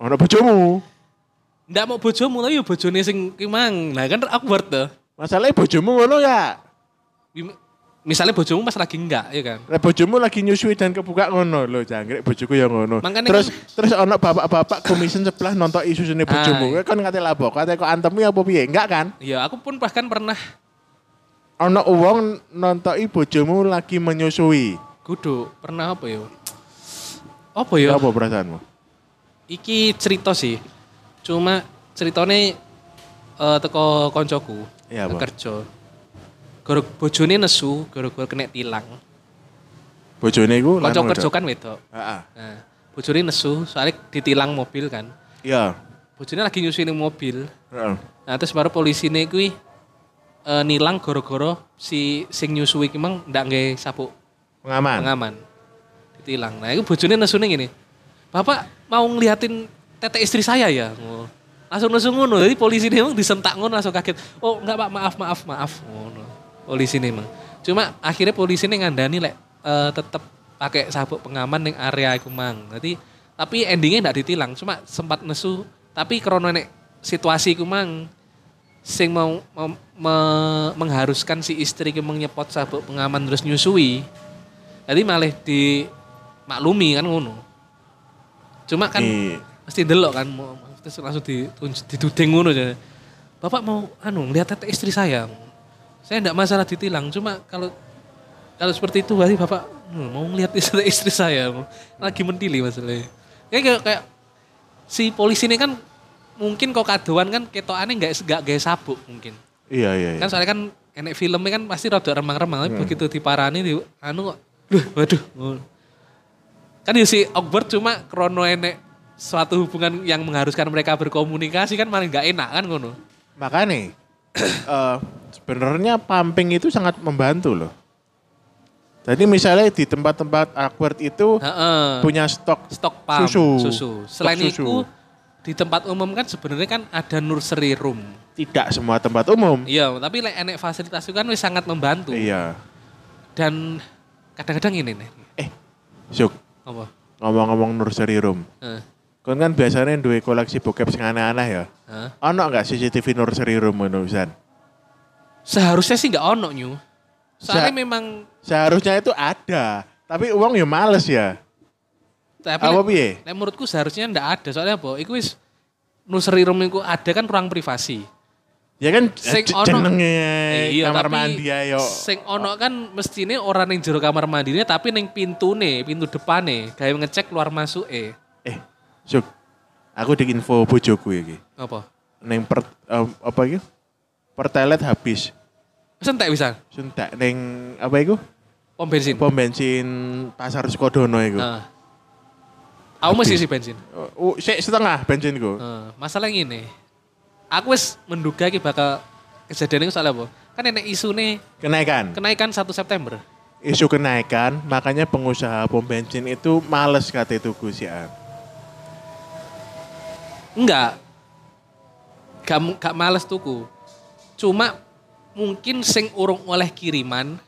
C: Ono bojomu.
B: Ndak mau bojomu tapi ya bojone sing ki mang. Nah kan awkward tuh.
C: Masalahnya bojomu ngono ya.
B: Misalnya bojomu pas lagi enggak ya kan.
C: Lah bojomu lagi nyusui dan kebuka ngono lho jangkrik bojoku ya ngono.
B: Makanya kan-
C: terus terus ono bapak-bapak komisen sebelah nonton isusune
B: Ah.
C: bojomu. Kowe Kan ngate labok, kate kok antemu apa piye? Enggak kan?
B: Ya aku pun bahkan pernah
C: Ono wong nonton bojomu lagi menyusui.
B: kudu pernah apa ya? Apa ya?
C: Apa perasaanmu?
B: Iki cerita sih. Cuma ceritane eh teko koncoku
C: Iya, apa?
B: kerja. Gara bojone nesu, gara-gara kena tilang.
C: Bojone iku
B: Konco
C: lanang
B: kerja
C: Oh, wedok?
B: kan wedok.
C: Heeh.
B: Nah, bojone nesu soalnya ditilang mobil kan.
C: Iya.
B: Bojone lagi nyusuin mobil.
C: Heeh.
B: Nah, terus baru polisi nih kui eh, nilang goro-goro si sing nyusui ki mang ndak nggak sapu
C: Pengaman.
B: pengaman. Ditilang. Nah, itu bojone nesune gini. Bapak mau ngeliatin tete istri saya ya? Ngono. Langsung nesu ngono. Jadi polisi nih emang disentak ngono langsung kaget. Oh, enggak Pak, maaf, maaf, maaf. Ngono. Polisi nih emang. Cuma akhirnya polisi nih ngandani lek eh, tetep pakai sabuk pengaman yang area iku mang. Jadi tapi endingnya enggak ditilang, cuma sempat nesu. Tapi krono nek situasi iku mang sing mau, mau- me- mengharuskan si istri ki menyepot sabuk pengaman terus nyusui. Jadi malah dimaklumi kan ngono. Cuma kan
C: Iya.
B: mesti delok kan mau mau- terus langsung ditun- dituding ngono aja. Bapak mau anu lihat tete istri saya. Saya enggak masalah ditilang, cuma kalau kalau seperti itu berarti Bapak hmm, mau ngelihat istri, istri saya lagi mendili masalahnya. Kayak kayak, kayak si polisi ini kan mungkin kok kadoan kan ketokannya nggak nggak gaya sabuk mungkin.
C: Iya iya. iya.
B: Kan soalnya kan enek filmnya kan pasti rada remang-remang, tapi begitu diparani di anu kok duh waduh. ngono. Kan ya si awkward cuma krono enek suatu hubungan yang mengharuskan mereka berkomunikasi kan malah nggak enak kan ngono.
C: Makanya eh sebenarnya pumping itu sangat membantu loh. Jadi misalnya di tempat-tempat awkward itu
B: Heeh.
C: punya stok
B: stok pam
C: Susu. Stok
B: Selain
C: susu.
B: itu di tempat umum kan sebenarnya kan ada nursery room.
C: tidak semua tempat umum.
B: Iya, tapi lek enek fasilitas itu kan wis sangat membantu.
C: Iya.
B: Dan kadang-kadang ini nih
C: Eh, Syuk,
B: apa? Eh,
C: ngomong-ngomong nursery room.
B: Heeh.
C: Kan kan biasanya duwe koleksi bokep sing aneh-aneh ya.
B: Heeh.
C: Ono nggak CCTV nursery room ngono pisan?
B: Seharusnya sih nggak ono nyu. Soalnya
C: Sa-
B: memang
C: Seharusnya itu ada, tapi uang ya males ya.
B: tapi
C: Apa
B: nek-
C: piye?
B: nek menurutku seharusnya ndak ada. Soalnya apa? Iku wis nursery room iku ada kan ruang privasi.
C: Ya kan
B: Sing
C: j-
B: ono- Eh, iya,
C: jenenge kamar
B: tapi
C: mandi ayo.
B: Sing ono kan mestine ora ning jero kamar mandinya tapi ning pintune, pintu depane, gawe ngecek keluar masuk e.
C: Eh, Syuk. Aku di info bojoku iki.
B: Apa?
C: Neng per eh, apa iki? Pertelet habis.
B: Sentek bisa
C: Sentak neng apa iku?
B: pom bensin.
C: Pom bensin Pasar Sukodono iku.
B: Nah. Aku masih isi bensin.
C: Uh, sik setengah bensinku.
B: Nah, masalah yang ini. Aku wis menduga iki bakal kejadian itu soalnya apa? Kan enek isune
C: Kenaikan.
B: kenaikan 1 September.
C: isu kenaikan, makanya pengusaha pom bensin itu males kata itu Gus Yaan.
B: Enggak. Gak, mu- gak males tuku. Cuma mungkin sing urung oleh kiriman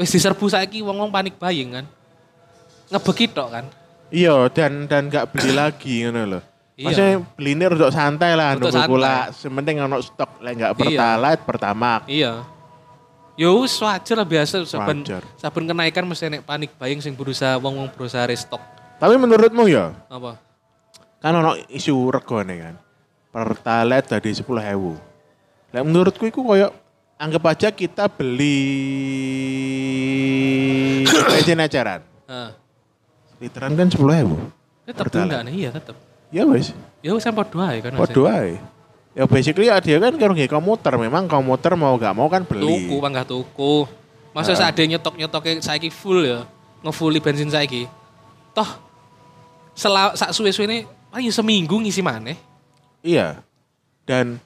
B: wis diserbu saiki wong-wong panik buying kan. Ngebeki tok kan.
C: Iya, dan dan nggak beli lagi ngono loh.
B: Iya.
C: Maksudnya beli ini untuk santai lah,
B: Untuk
C: nunggu
B: santai.
C: gula. Sementing ono stok, lah nggak
B: Iya.
C: pertalite, pertama.
B: Iya. Yo wis wajar lah biasa saben
C: Wajar.
B: saben kenaikan mesti enek panik buying sing berusaha wong-wong berusaha restock.
C: Tapi menurutmu ya,
B: Apa?
C: kan ono isu regone kan. Pertalite dari sepuluh ewu. Lah menurutku itu koyok anggap aja kita beli bensin eceran.
B: Heeh.
C: Literan kan sepuluh ewu.
B: Tetep
C: Pertalite.
B: enggak nih, iya tetep.
C: Ya wes.
B: Ya wis sampe doa kan.
C: Podo ae. Ya basically ya dia kan kalau nggak komuter, memang komuter mau gak mau kan beli. Nah.
B: Tuku panggah tuku. Masa saat dia nyetok nyetoknya saiki full ya, ngefulli bensin saiki. Toh sela sak suwe suwe ini paling seminggu ngisi maneh.
C: Iya. Dan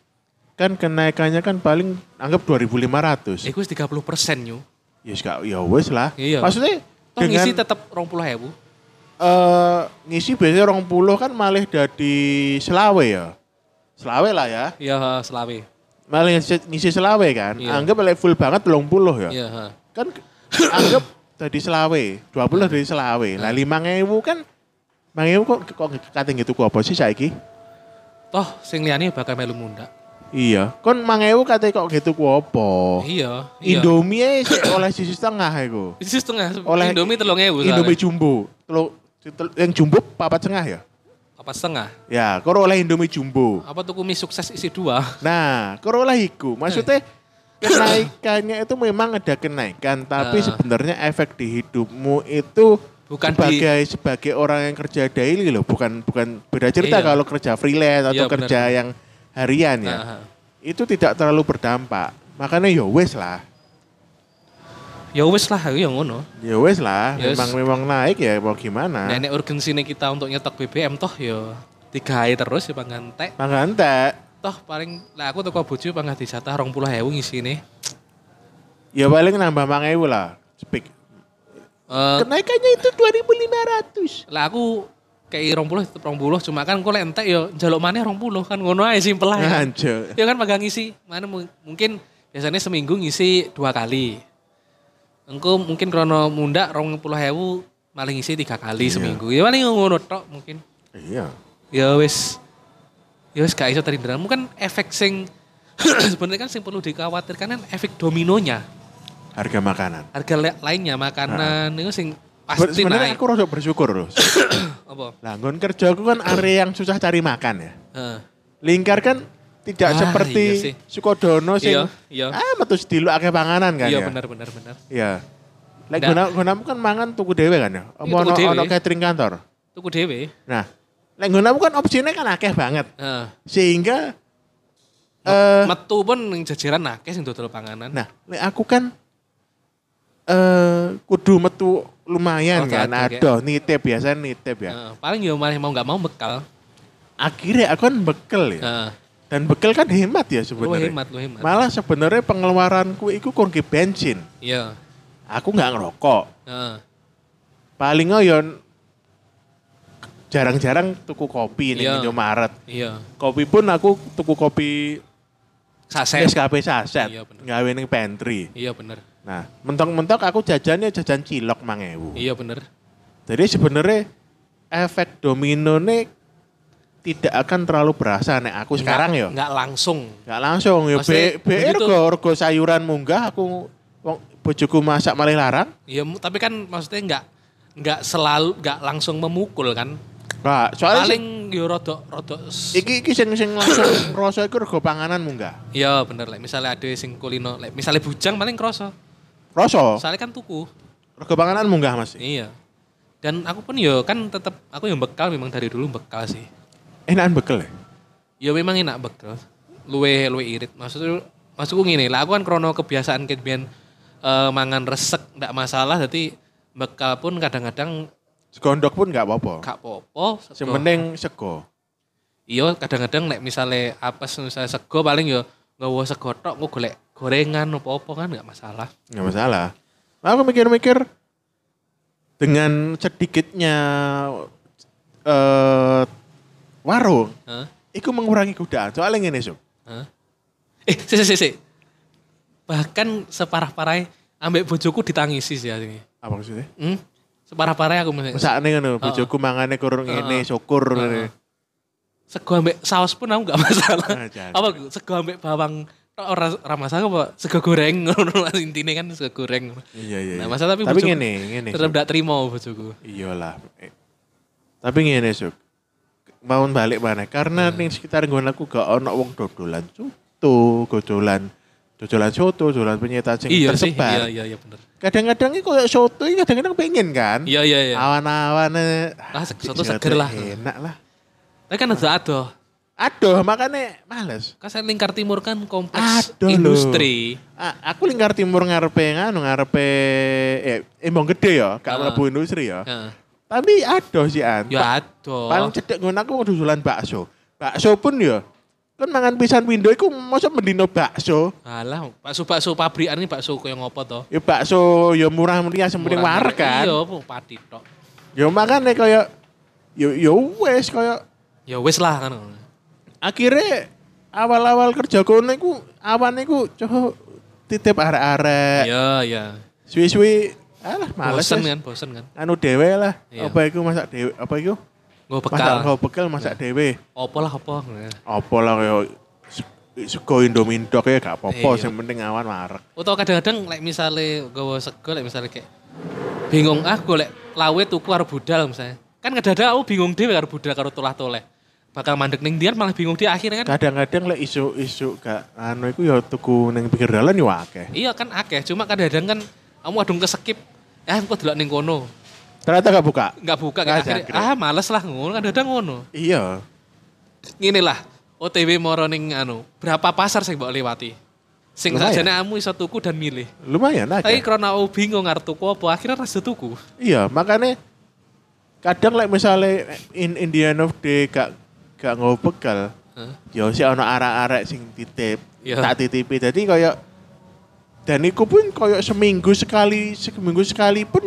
C: kan kenaikannya kan paling anggap 2500.
B: Eh gue 30 persen yuk.
C: Ya yes, gak ya wes lah.
B: Iya.
C: Maksudnya
B: Toh
C: dengan
B: ngisi
C: ngisi,
B: tetap rong puluh ewu.
C: ngisi biasanya orang puluh kan malah dari Selawe ya. Selawe lah ya.
B: Ya ha, selawe.
C: Malah ngisi, ngisi Selawe kan.
B: Iya.
C: Anggap like full banget 30 ya.
B: Ya. Iya, ha.
C: Kan anggap tadi selawe, 20 dari selawe. Lah 5000 kan 5000 kok kok kate gitu ku apa sih saiki?
B: Toh sing liyane bakal melu munda.
C: Iya, kon 5000 kate kok gitu ku apa?
B: Iya, iya.
C: Indomie ae sik oleh sisi setengah iku.
B: Isi setengah
C: Oleh-
B: Indomie 3000 soalnya.
C: Indomie jumbo. Telu tel- yang jumbo papat setengah ya?
B: apa setengah?
C: Ya, koro oleh Indomie jumbo.
B: Apa tuku mie sukses isi dua?
C: Nah, korolah iku.
B: Eh.
C: Maksudnya kenaikannya itu memang ada kenaikan,
B: Ah.
C: tapi sebenarnya efek di hidupmu itu
B: Bukan di-
C: sebagai sebagai orang yang kerja daily loh, bukan bukan beda cerita
B: Iya.
C: kalau kerja freelance atau
B: Iya, benar.
C: kerja yang harian ya.
B: Nah,
C: Itu tidak terlalu berdampak. Makanya ya wes lah.
B: ya wis lah aku yang ngono.
C: Ya wes lah,
B: Yes. Nah,
C: memang memang naik ya mau gimana.
B: Nenek urgensinya kita untuk nyetok BBM toh ya tiga hari terus ya pangantek.
C: Mangga entek.
B: Toh paling lah aku teko bojo pangah dijatah 20.000 ngisine.
C: Ya paling nambah mangewu lah. Speak.
B: Eh
C: Kenaikannya itu 2500.
B: lah aku kayak 20 tetep 20 cuma kan kok lek entek ya njaluk maneh 20 kan ngono ae simpel ae.
C: Nah, Anjir.
B: Ya kan pegang ngisi. Mana mu- mungkin biasanya seminggu ngisi dua kali. Engko mungkin krono munda rong puluh hewu maling ngisi tiga kali seminggu. Ya paling ngono tok mungkin.
C: Iya.
B: Ya wis. Ya wis gak iso terhindar. Mungkin efek sing sebenarnya kan sing perlu dikhawatirkan kan efek dominonya.
C: Harga makanan.
B: Harga la- lainnya makanan itu sing
C: Sebenarnya
B: pasti
C: sebenarnya
B: naik.
C: aku rada bersyukur loh.
B: Apa?
C: Lah nggon kerja aku kan area yang susah cari makan ya.
B: Heeh.
C: Lingkar kan tidak
B: Ah,
C: seperti
B: iya sih.
C: Sukodono sing
B: Iya, iya.
C: ah metu sediluk akeh panganan kan
B: Iya
C: ya.
B: benar benar benar.
C: Iya.
B: Ndak.
C: Lek
B: Iya,
C: guna gunamu kan mangan tuku dhewe kan ya. Apa
B: tuku
C: ono
B: dhewe.
C: ono catering kantor.
B: Tuku dhewe.
C: Nah, lek gunamu kan opsine kan akeh banget.
B: Heeh.
C: Sehingga eh
B: Metu pun yang jajaran akeh sing dodol panganan.
C: nah, lek aku kan eh kudu metu lumayan
B: Oh,
C: kan.
B: kadang, ya.
C: Aduh, nitip biasa nitip ya.
B: Heeh, paling ya malah mau nggak mau bekal.
C: Akhirnya aku kan bekel ya.
B: Heeh.
C: Dan bekal kan hemat ya
B: lu Oh,
C: sebenarnya.
B: hemat, lu hemat.
C: Malah sebenarnya pengeluaranku itu kurang bensin.
B: Iya.
C: Aku nggak ngerokok.
B: Heeh.
C: Paling yon jarang-jarang tuku kopi nih
B: Iya.
C: Indomaret.
B: Iya.
C: Kopi pun aku tuku kopi
B: Saset.
C: SKP saset.
B: Iya, bener.
C: Gawe ning pantry.
B: Iya bener.
C: Nah, mentok-mentok aku jajannya jajan cilok mangewu.
B: Iya bener.
C: Jadi sebenarnya efek domino nih tidak akan terlalu berasa nek aku sekarang
B: Nggak-
C: ya. yo.
B: Nggak langsung.
C: Gak langsung ya,
B: Maksudnya
C: be, be
B: begitu.
C: ergo, ergo sayuran munggah aku wong bojoku masak malah larang.
B: Iya, mu- tapi kan maksudnya nggak nggak selalu nggak langsung memukul kan.
C: Nah, soalnya sing-
B: Paling yo rodok rodok. s-
C: iki iki sing sing langsung rasa iku rego panganan munggah.
B: Iya bener. Like, misalnya ada sing kulino, like, misalnya bujang paling kroso.
C: Rasa
B: Soalnya kan tuku.
C: rego panganan munggah Mas.
B: Iya. Dan aku pun yo kan tetap aku yang bekal memang dari dulu bekal sih.
C: Enakan bekel ya.
B: Ya memang enak bekel. Luwe luwe irit. Maksudnya maksudku ngene, lah aku kan krono kebiasaan ket biyen, eh, mangan resek ndak masalah jadi bekal pun kadang-kadang
C: Segondok pun gak apa-apa.
B: gak popo. sego.
C: Sing penting sego.
B: Iya kadang-kadang nek misale apes misalnya sego paling yo nggawa sego tok engko golek gorengan opo-opo kan nggak masalah.
C: Gak masalah. Nah, Aku mikir-mikir dengan sedikitnya eh warung
B: Heeh.
C: itu mengurangi godaan. Soalnya ngene, Sob.
B: Heeh. Eh, si, si, si, si. Bahkan separah-parahnya ambek bojoku ditangisi sih ini.
C: Apa maksudnya?
B: Hmm? Separah-parahnya aku masih.
C: Mesakne ngono, bojoku mangane kurang ngene, syukur ngene.
B: sego ambek saus pun aku gak masalah.
C: Ah, jangan.
B: apa sego ambek bawang ora ora masalah apa sego goreng ngono lah, intine kan sego goreng.
C: Iya, iya.
B: Nah,
C: iya.
B: masalah tapi
C: tapi
B: bojoku-
C: ngene, ngene.
B: Tetep gak terima bojoku.
C: Iyalah. Eh, Tapi ngene, Suk. Mau balik mana? Karena ning sekitar nggon aku gak ono wong dodolan soto, dodolan dodolan soto, dodolan penyeta sing
B: Iya sih, iya
C: tersebar.
B: iya iya bener.
C: Kadang-kadang iki koyo soto iki kadang-kadang pengen kan.
B: Iya iya iya.
C: Awan-awan eh. Iya,
B: Ah, se- soto seger lah.
C: Enak lah.
B: Tapi kan ada ada.
C: Aduh, makanya males.
B: Kan saya lingkar timur kan kompleks
C: Aduh, lho.
B: industri.
C: A- aku lingkar timur ngarepe nganu ngarepe eh embong gede ya, gak
B: Ah.
C: mlebu industri ya.
B: Heeh.
C: Tapi aduh sih an.
B: Ya ada.
C: Paling cedek ngono aku mau dodolan bakso. Bakso pun ya. Kan mangan pisan pindho iku mosok mendino bakso.
B: Alah, bakso bakso pabrikan ini bakso koyo ngopo to?
C: Ya bakso ya murah meriah sing penting
B: Murah.
C: wareg kan.
B: Iya, mau pati tok.
C: Ya makane kaya ya ya wes kaya
B: Ya wis lah kan.
C: akhirnya awal-awal kerja kono iku awane iku coba titip arek-arek.
B: Iya, iya.
C: Suwi-suwi Alah, Eh. males.
B: Bosen
C: ya.
B: kan, bosen kan.
C: Anu dhewe lah.
B: Iya.
C: Apa iku masak dhewe? Apa iku?
B: Gue
C: Masak
B: bekal.
C: kau bekel masak dhewe.
B: Opo lah opo. Nah.
C: Apa lah kaya se- sego Indomie Dok ya gak apa-apa,
B: Iya.
C: sing penting awan marek.
B: Atau kadang-kadang like misalnya gue sego, like misalnya kayak bingung ah gue like lawe tuku karo budal misalnya. Kan kadang-kadang aku bingung dhewe karo budal karo tolah toleh. Bakal mandek ning dia malah bingung dia akhirnya kan.
C: Kadang-kadang lek isu-isu gak anu iku ya tuku ning pinggir dalan yo akeh.
B: Iya kan akeh, cuma kadang-kadang kan kamu adung keskip. Ah kok delok ning kono.
C: Ternyata gak buka.
B: Enggak buka
C: Nggak
B: kan akhirnya.
C: jangkrik.
B: Ah males lah ngono, kadang-kadang ngono.
C: Iya.
B: Ngene lah. OTW moro ning anu, berapa pasar sing mbok lewati? Sing
C: Lumayan.
B: sakjane kamu iso tuku dan milih.
C: Lumayan aja.
B: Tapi karena aku bingung arep tuku apa, akhirnya rasa tuku.
C: Iya, makanya kadang like misalnya in Indian of Day gak gak nggo bekal.
B: Heeh.
C: Ya sih ana arek-arek sing titip.
B: Iya.
C: Tak titipi. Jadi koyo dan iku pun koyo seminggu sekali, seminggu sekali pun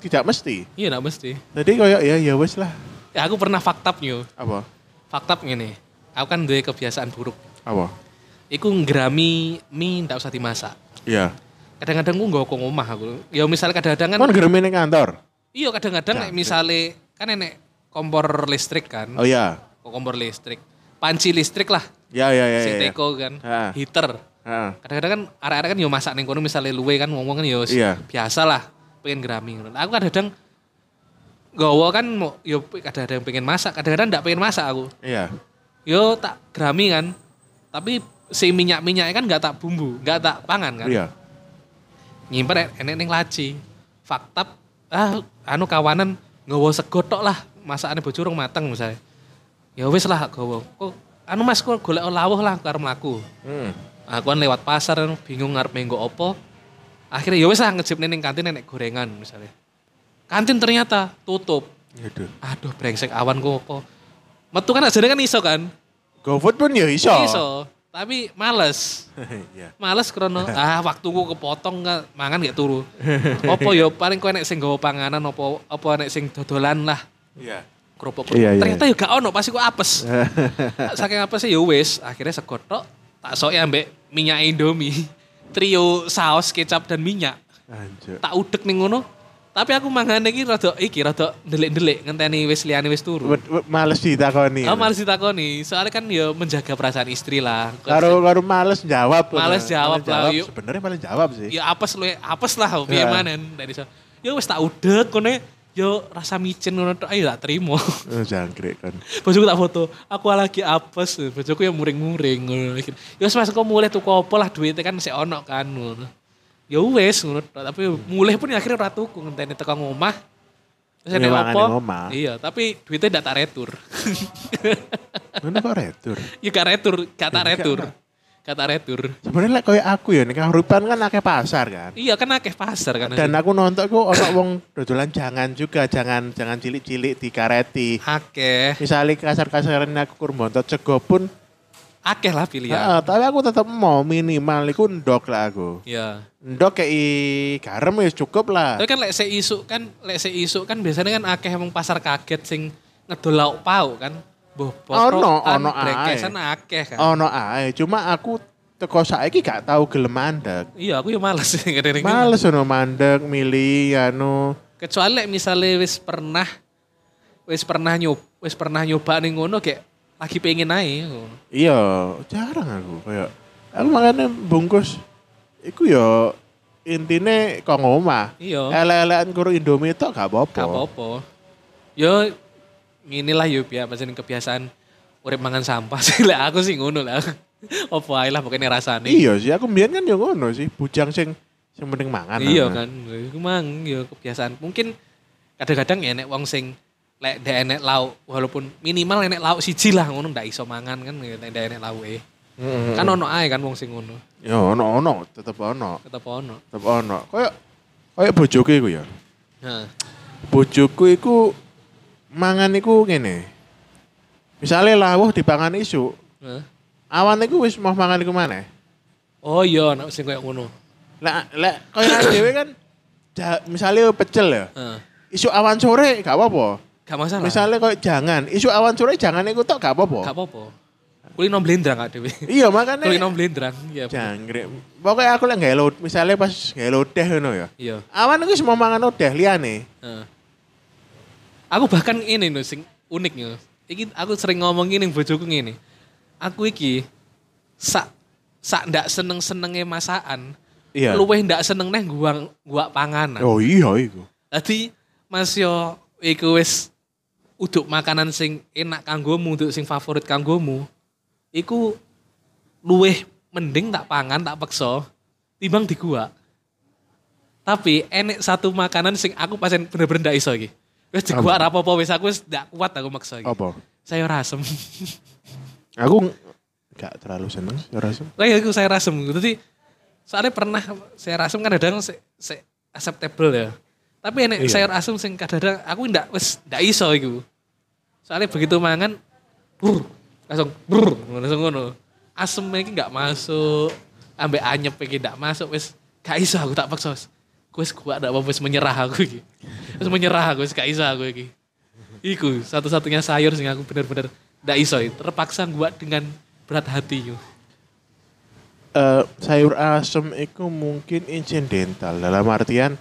C: tidak mesti.
B: Iya nak mesti.
C: Jadi koyo ya ya wis lah.
B: Ya, aku pernah faktapnya.
C: Apa?
B: Faktap ngene. Aku kan duwe kebiasaan buruk.
C: Apa?
B: Iku ngerami mie ndak usah dimasak.
C: Iya.
B: Kadang-kadang aku nggak kok omah aku. Ya misalnya kadang-kadang kan
C: Kan geremi ning kantor.
B: iya kadang-kadang nek misale kan enek kompor listrik kan.
C: Oh iya.
B: Kok kompor listrik. Panci listrik lah.
C: Ya ya ya.
B: Sing
C: ya, ya.
B: teko kan.
C: Ha.
B: Heater.
C: Heeh.
B: Kadang-kadang kan arek-arek kan yo masak ning kono misale luwe kan ngomong kan yo
C: Iya.
B: biasa lah pengen graming ngono. Nah, Aku kadang-kadang gowo kan mau yo kadang-kadang pengen masak, kadang-kadang ndak pengen masak aku.
C: Iya.
B: Yo tak grami kan. Tapi si minyak-minyaknya kan nggak tak bumbu, nggak tak pangan kan.
C: Iya.
B: Nyimpen en- enek ning laci. Faktab ah anu kawanan nggawa segotok lah masakane bojo rung mateng misalnya. Ya wis lah gowo. Kok anu Mas kok golek lawuh lah aku arep mlaku.
C: Hmm.
B: Aku kan lewat pasar bingung ngarep menggo opo. Akhirnya ya wis lah ngejepne ning kantin enek gorengan misalnya. Kantin ternyata tutup.
C: Ya Aduh.
B: Aduh brengsek awan ku opo. Metu kan ajane kan iso kan?
C: GoFood pun ya iso.
B: Iso. Tapi males.
C: Iya.
B: Males krono ah waktuku kepotong nggak mangan gak turu. Opo yo paling kowe nek sing nggawa panganan opo opo nek sing dodolan lah
C: Iya.
B: kerupuk.
C: Iya, iya,
B: Ternyata yo gak ono pasti ku apes. Saking apes yo wis akhirnya segotok tak sok ambek minyak Indomie. Trio saus kecap dan minyak.
C: Anjir.
B: Tak udek ning ngono. Tapi aku mangane iki rada iki rada ndelik-ndelik ngenteni wis liyane wis turu.
C: Wet- wet- Males ditakoni.
B: Oh, males ditakoni. Soalnya kan ya menjaga perasaan istri lah.
C: Karo karo males jawab.
B: Males jawab lah, yuk.
C: Sebenarnya males jawab sih.
B: Ya apes lu, apes lah piye
C: Ya.
B: manen dari so. Ya wis tak udek kone yo rasa micin ngono tok ayo tak trimo.
C: Eh, Jangkrik kan.
B: Bojoku tak foto, aku lagi apes, bojoku yang muring-muring ngono. Ya wis mas engko mulih tuku apa lah duitnya kan sik ono kan ngono. Ya wis ngono tok. tapi mulih pun akhirnya ora tuku ngenteni teko omah. Terus
C: Ini
B: enek
C: mangan
B: apa?
C: yang omah.
B: Iya, tapi duitnya ndak tak retur.
C: Mana kok retur?
B: ya gak retur, gak tak retur. Gak tak retur.
C: Sebenarnya like kayak aku ya nikah rupan kan akeh pasar kan.
B: Iya kan akeh pasar kan.
C: Dan aku nonton aku ono wong dodolan jangan juga jangan jangan cilik-cilik dikareti.
B: akeh.
C: Misalnya kasar-kasaran aku kurbontot cego pun,
B: akeh lah pilihan.
C: ah, tapi aku tetap mau minimal iku ndok lah aku.
B: Iya.
C: Ndok kayak i- garam ya cukup lah.
B: Tapi kan lek sik isuk kan lek sik isuk kan biasanya kan akeh emang pasar kaget sing ngedol lauk pau kan. Boh,
C: Ono, ono ae. Oh.
B: brekesan akeh kan.
C: Ono ae, cuma aku teko saiki gak tahu gelem mandek.
B: Iya, aku ya males kadang-kadang.
C: Males ono mandek milih anu
B: Kecuali lek misale wis pernah wis pernah nyob wis pernah nyoba ning ngono kayak lagi pengen ae. ngono.
C: Iya, jarang aku kayak aku makanya bungkus iku yo intine kok omah.
B: Iya.
C: Ele-elean karo Indomie tok gak
B: Gak
C: apa-apa.
B: apa-apa. Yo inilah yo biar pancen kebiasaan urip mangan sampah sih lek aku sih ngono lah. Apa ae lah pokoknya rasane.
C: Iya sih, aku mbiyen kan yo ngono sih, bujang sing sing penting mangan.
B: Iya
C: Nah.
B: kan, iku mang ya kebiasaan. Mungkin kadang-kadang enek wong sing lek ndak enek lauk walaupun minimal enek lauk siji lah ngono ndak iso mangan kan ya, nek ndak enek lauke.
C: Mm-mm.
B: Kan ono ae kan wong sing ngono,
C: Yo ono ono, Ya, tetep ono,
B: tetep ono.
C: tetep ono. Kayak kayak bojoku iku ya.
B: Heeh.
C: Bojoku iku mangan iku ngene. Misalnya lawuh dipangan isu,
B: Heeh.
C: awan iku wis mau mangan iku maneh.
B: Oh iya, nek sing koyo ngono.
C: Lah lah kaya dhewe kan ja- misalnya pecel ya.
B: Heeh.
C: isu awan sore gak apa-apa.
B: Gak masalah.
C: Misalnya kok jangan, isu awan sore jangan ikut tok gak apa-apa.
B: gak apa-apa. Kulino blendrang Kak Dewi.
C: Iya makanya.
B: Kulino blendrang. Iya. Bu.
C: Jangkrik. Pokoknya aku lek nggak lodeh, misalnya pas nggak lodeh ngono ya.
B: Iya.
C: Awan aku semua mangan lodeh liane.
B: Heeh. Eh. Aku bahkan ini no sing unik yo. Iki aku sering ngomong gini ning bojoku ngene. Aku iki sak sak ndak seneng-senenge masakan.
C: Iya.
B: Luweh ndak seneng neh gua gua panganan.
C: Oh iya iku.
B: Tadi Mas yo iku wis uduk makanan sing enak kanggomu, untuk sing favorit kanggomu. Iku luweh mending tak pangan, tak peksa timbang di gua. Tapi enek satu makanan sing aku pasen bener-bener ndak iso iki. Wis di gua rapopo wis aku wis ndak kuat aku maksa iki.
C: Apa?
B: Sayur asem.
C: gitu. Aku ng- nggak terlalu seneng sayur asem.
B: Lah aku sayur asem. Jadi soalnya pernah sayur asem kan kadang se, se acceptable ya. Tapi enek
C: Iya.
B: sayur asem sing kadang aku ndak wis ndak iso iku. Soalnya begitu mangan brr, langsung brr, ngono, langsung ngono. Asem iki nggak masuk, ambek anyep iki ndak masuk wis gak iso aku tak paksa. wis. Aku wis kuat ndak apa wis menyerah aku iki. Wis menyerah aku wis gak iso aku iki. Iku satu-satunya sayur sing aku bener-bener ndak iso, terpaksa gua dengan berat hati yo.
C: Eh, sayur asem itu mungkin incidental dalam artian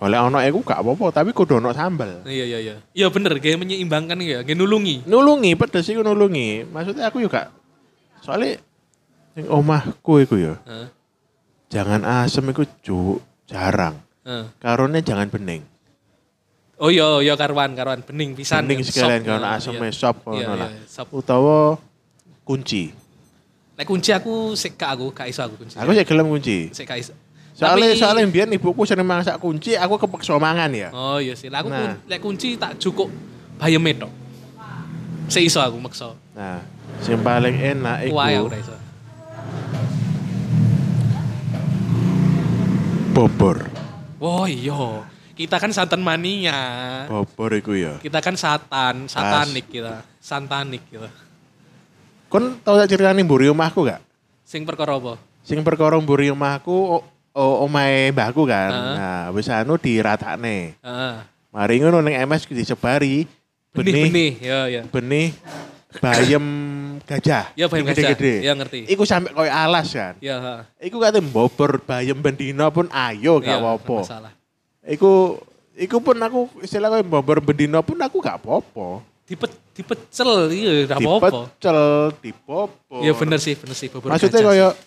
C: oleh ono aku gak apa-apa tapi kudu ono sambel.
B: Iya iya iya. Iya bener, kayak menyeimbangkan ya, kayak nulungi.
C: Nulungi pedes iku nulungi. Maksudnya aku juga soalnya yang omahku iku ya.
B: Heeh.
C: Jangan asem iku cuk jarang.
B: heeh.
C: Karone jangan bening.
B: Oh iya iya karuan karuan bening pisan.
C: Bening
B: ya,
C: sekalian
B: sop.
C: karena
B: Nah,
C: asem
B: iya.
C: sop
B: Iya,
C: kono
B: iya,
C: lah.
B: sop.
C: Utawa kunci.
B: Nek kunci aku sik gak aku, gak iso aku kunci.
C: Aku sih gelem kunci.
B: sik gak iso.
C: Soalnya
B: Tapi-
C: soalnya biar ibuku sering masak kunci, aku kepeksa mangan ya.
B: Oh iya sih. Lah aku
C: Nah.
B: kun- lek kunci tak cukup bayeme tok. Sik iso aku maksa.
C: Nah, sing paling enak iku
B: Kuah aku gak iso.
C: bobor.
B: Oh iya. Kita kan santan mania.
C: Bobor iku ya.
B: Kita kan satan, satanik kita. Santanik kita.
C: Kon tau tak ceritane mburi omahku gak?
B: Sing perkara apa?
C: Sing perkara mburi omahku o- o- omahe mbahku kan.
B: Heeh.
C: Nah, wis anu diratakne.
B: Heeh.
C: Mari ngono ning MS disebari benih
B: Benih-benih, ya ya.
C: benih bayam gajah.
B: Ya, bayam
C: Yang gede-gede.
B: gajah. Ya, ngerti.
C: Iku sampe koyo alas kan.
B: Ya, heeh.
C: Iku kate bobor bayam bendino pun ayo
B: Iya,
C: gak apa-apa.
B: masalah.
C: Iku iku pun aku istilah koyo bobor bendino pun aku gak apa-apa.
B: Dipet, dipecel, iya, gak apa-apa.
C: Dipecel, dipopor.
B: Iya bener sih, bener sih. bubur
C: Maksudnya
B: gajah
C: koyo
B: sih.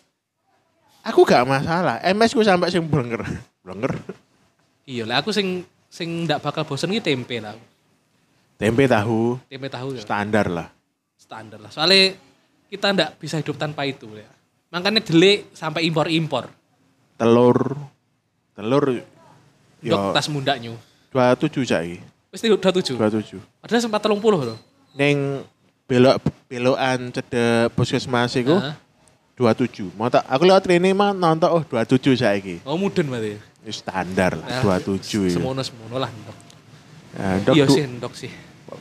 C: aku gak masalah. MS ku sampai sing blenger. Blenger.
B: Iya lah, aku sing sing ndak bakal bosen iki tempe lah.
C: Tempe tahu
B: Tempe tahu ya,
C: standar lah.
B: standar lah. Soalnya kita ndak bisa hidup tanpa itu ya. Makanya delik sampai impor-impor.
C: Telur telur
B: Dok
C: yo
B: tas mundaknya.
C: 27 saiki.
B: Wis udah tujuh.
C: 27.
B: Padahal sempat telung puluh loh.
C: Ning belok belokan cedek puskesmas iku
B: Heeh.
C: 27. Mau tak aku lewat rene mah nonton oh 27 saiki.
B: Oh mudun berarti.
C: Ini standar
B: Eh,
C: lah 27 ya.
B: Semono semono lah ndok.
C: Nah, Ndok
B: Iya
C: du-
B: sih ndok sih.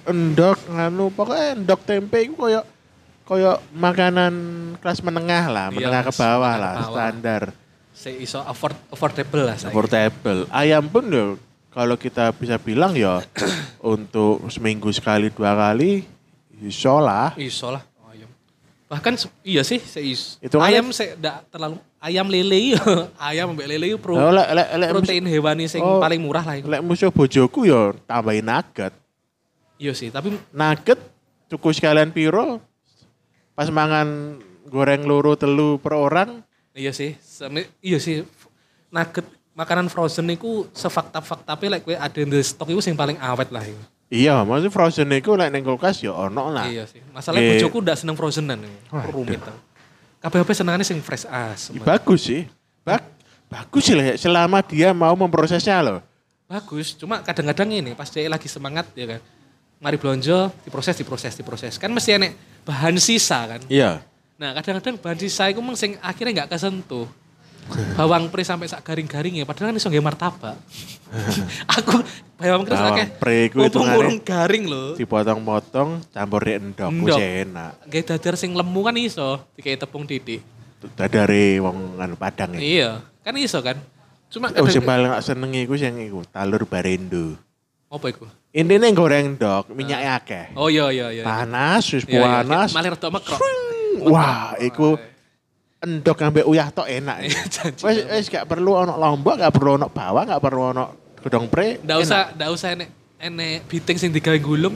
C: endok nganu pokoknya endok tempe itu koyo koyo makanan kelas menengah lah,
B: Iya,
C: menengah ke
B: kelas
C: bawah
B: menengah
C: lah,
B: ke bawah.
C: standar.
B: Saya iso afford, affordable lah saya.
C: Portable. Ayam pun ya kalau kita bisa bilang ya untuk seminggu sekali dua kali iso lah.
B: Iso lah Oh, ayam. Bahkan se- iya sih saya is-
C: Itu kan-
B: ayam saya ndak terlalu ayam lele iya. ayam mbek lele iya pro,
C: Nah, lek lek lek
B: protein hewani sing
C: Oh.
B: paling murah lah
C: musuh-
B: iku.
C: lek musuh bojoku ya tambahin nugget.
B: Iya sih, tapi
C: Nugget cukup sekalian piro pas mangan goreng loro telu per orang
B: iya sih, semi- iya sih nugget makanan frozen itu sefakta-fakta tapi like kowe ada di stok itu yang paling awet lah iku.
C: Iya, maksudnya frozen itu lek neng kulkas ya ono lah.
B: Iya sih. Masalahnya
C: Iya.
B: bojoku ndak seneng frozenan. iku.
C: Waduh.
B: Rumit tau. Kabeh-kabeh senengane sing fresh as.
C: Ya, bagus sih. Bag- bagus sih lah, ya, selama dia mau memprosesnya loh.
B: Bagus, cuma kadang-kadang ini pas dia lagi semangat ya kan. Mari blonjo, diproses, diproses, diproses. Kan mesti enek bahan sisa kan.
C: Iya.
B: Nah kadang-kadang bahan sisa itu memang sing akhirnya nggak kesentuh. Bawang pre sampai sak garing-garing ya, padahal kan iso nggih martabak. aku bawang pre
C: Bawang
B: akeh.
C: pre iku
B: Urung-urung garing lho.
C: Dipotong-potong, campur di endok,
B: Endok.
C: wis enak.
B: Nggih dadar sing lemu kan iso, dikai tepung didik.
C: Tuh, dari wong anu Padang ya.
B: Iya, kan iso kan. Cuma
C: Oh, sing
B: kadang-
C: paling gak seneng iku sing iku, talur barendo.
B: Apa iku?
C: Intinya goreng dok, minyaknya akeh.
B: Oh iya iya iya.
C: Panas, wis
B: Iya, iya.
C: panas.
B: Malah rada mekrok.
C: Wah, iku endok ambek uyah tok enak.
B: Iya, janji.
C: Wes wes gak perlu ono lombok, gak perlu ono bawang, gak perlu ono gedong pre.
B: Ndak usah ndak usah enek enek biting sing digawe gulung.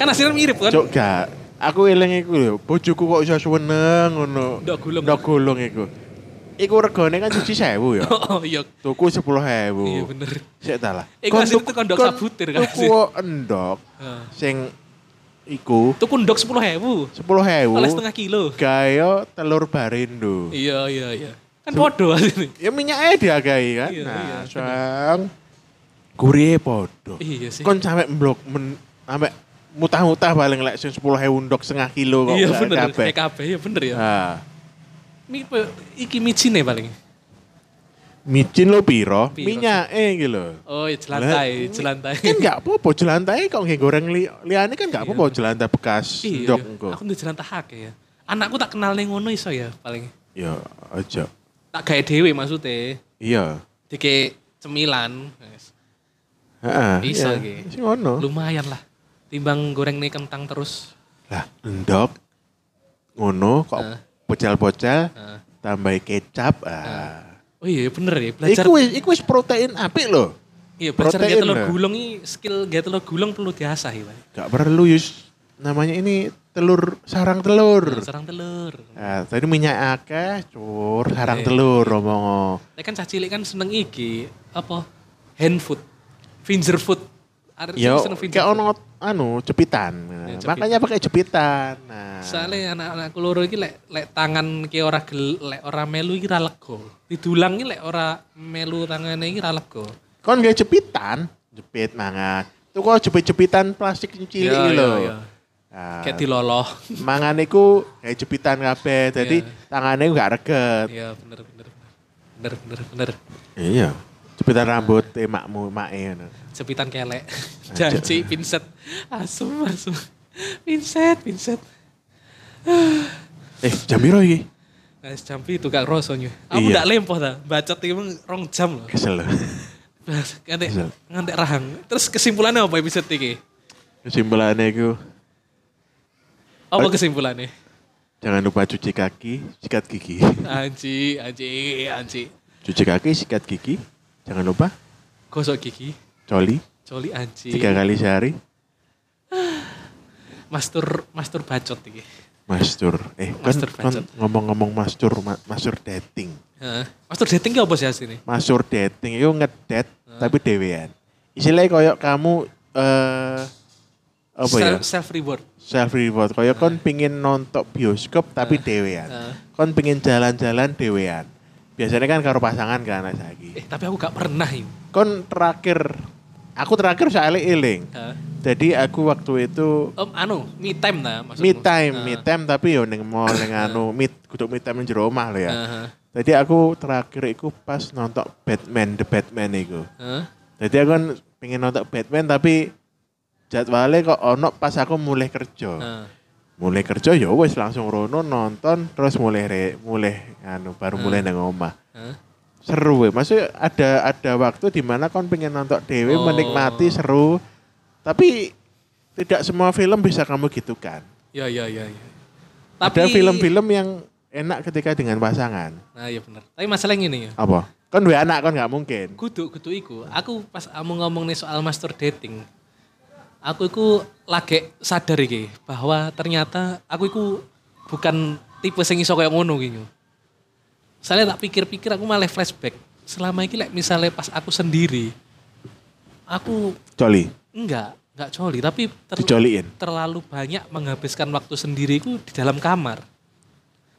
B: Kan hasilnya mirip kan?
C: Cuk gak. Aku eling iku lho, bojoku kok iso seneng ngono.
B: Ndok gulung.
C: Ndok gulung iku. Iku regane kan cuci 1000 ya.
B: Oh iya.
C: Tuku 10000.
B: Iya bener.
C: Sik ta lah.
B: Iku
C: Kon
B: hasil
C: tuku-
B: tekan ndok
C: kon
B: sabutir kan
C: Tuku
B: hasil.
C: endok
B: Heeh.
C: sing iku
B: Tuku ndok 10.000. Oleh
C: 10000.
B: setengah kilo.
C: Gayo telur barindo.
B: Iya iya iya. Kan podo hasilnya.
C: Ya minyaknya dihargai kan.
B: Iya,
C: nah,
B: iya, bener.
C: sang gurih podo.
B: Iya sih.
C: Kon sampe blok men sampe mutah-mutah paling lek sing 10.000 ndok setengah kilo kok.
B: Iya
C: gak
B: bener.
C: kabeh.
B: Kayak kabeh ya bener ya.
C: Nah,
B: Mi, pe- iki micine paling.
C: micin lo piro,
B: Piro
C: minyake iki lho.
B: Oh, iya, jelantai,
C: Lah,
B: jelantai.
C: Kan gak apa-apa jelantai kok nggih goreng li liyane kan
B: Iya.
C: gak apa-apa jelantai bekas
B: Iya,
C: ndok engko.
B: aku ndek jelantai hak ya. Anakku tak kenal ning ngono iso ya paling.
C: Ya aja.
B: Tak gawe dhewe maksudnya.
C: Iya.
B: Dike cemilan. Yes.
C: Heeh.
B: Bisa,
C: iya.
B: Ki.
C: Sing ngono.
B: Lumayan lah. Timbang goreng nih kentang terus.
C: Lah, endok ngono kok
B: Ah.
C: pocel-pocel
B: Nah.
C: tambah kecap. Ah.
B: Oh iya bener ya belajar.
C: Iku wis iku wis protein apik lho.
B: iya belajar gaya
C: protein ya?
B: telur
C: lah.
B: gulung ini skill gaya telur gulung perlu diasah ya. Pak.
C: Gak perlu yus namanya ini telur sarang telur.
B: Serang telur.
C: Nah, tadi minyak akeh, cur, sarang
B: Iya.
C: telur romongo.
B: Nah, kan cah cilik kan seneng iki apa hand food, finger food. Arek
C: Ya,
B: seneng finger
C: kayak
B: food.
C: ono anu jepitan. Nah,
B: Ya, jepitan.
C: Makanya pakai jepitan. Nah,
B: Soalnya anak-anakku loro iki lek lek tangan ki ora gel, lek ora melu iki ra lega. Didulang iki lek ora melu tangane iki ra lega.
C: kon gak jepitan, jepit mangan. Tuh kok jepit-jepitan plastik cilik
B: Iya,
C: iki
B: iya,
C: lho.
B: iya.
C: Nah,
B: Kayak diloloh.
C: mangan iku kayak jepitan kabeh. Jadi
B: Ya.
C: tangannya gak reget.
B: Iya, bener bener. Bener bener bener.
C: Iya. Jepitan rambut emakmu, emake ngono.
B: Jepitan kelek. Janji pinset. Asum asum. Pinset, pinset.
C: Eh, jam piro iki?
B: Nah, jam itu gak rasanya. Aku
C: Iya.
B: ndak lempoh ta. Bacot iki emang rong jam loh.
C: Kesel. lho.
B: Ngantek
C: Kesel.
B: ngantek rahang. Terus kesimpulannya apa episode iki?
C: Kesimpulannya iku
B: Apa kesimpulannya?
C: jangan lupa cuci kaki, sikat gigi.
B: Anji, anji, anji.
C: Cuci kaki, sikat gigi. Jangan lupa
B: Gosok gigi.
C: coli
B: Coli anjing.
C: tiga kan? kali sehari.
B: Mastur mastur bacot iki.
C: Mastur. Eh, kan,
B: Mastur
C: kan
B: bacot.
C: ngomong-ngomong mastur, ma- mastur dating.
B: Heeh. Mastur dating ki apa sih asline?
C: Mastur dating itu ngedet tapi dewean. Istilahnya koyok kamu eh apa
B: Self,
C: ya?
B: self reward.
C: Self reward. Koyok kon pingin nonton bioskop tapi dewean.
B: Heeh.
C: Kon pingin jalan-jalan dewean. Biasanya kan karo pasangan kan anak saiki.
B: Eh, tapi aku gak pernah ini.
C: Kon terakhir aku terakhir soalnya iling.
B: Heeh.
C: Jadi aku waktu itu
B: Om anu, me time nah maksudmu.
C: mid time,
B: Heeh.
C: mid time tapi yo ning mall ning anu mid kudu mid time ning jero omah lho ya.
B: Heeh.
C: Jadi aku terakhir iku pas nonton Batman The Batman iku.
B: Heeh.
C: Jadi aku kan pengen nonton Batman tapi jadwalnya kok ono pas aku mulai kerja.
B: Heeh.
C: Mulai kerja ya wes langsung rono nonton terus mulai re- mulai anu baru mulai nang omah.
B: Heeh.
C: Seru we. Maksudnya ada ada waktu di mana kon pengen nonton dewe
B: Oh.
C: menikmati seru. Tapi tidak semua film bisa kamu gitukan.
B: Ya ya ya ya.
C: Ada film-film yang enak ketika dengan pasangan.
B: Nah, ya bener. Tapi masalah ini ya.
C: Apa? Kan dua anak kan nggak mungkin.
B: Kudu kudu iku. Aku pas kamu ngomong nih soal master dating. Aku iku lagi sadar iki bahwa ternyata aku iku bukan tipe sing iso kayak ngono gitu. Soalnya tak pikir-pikir aku malah flashback. Selama ini like, misalnya pas aku sendiri, aku
C: Coli,
B: enggak, enggak coli. Tapi ter-
C: dicoliin.
B: terlalu banyak menghabiskan waktu sendiriku di dalam kamar.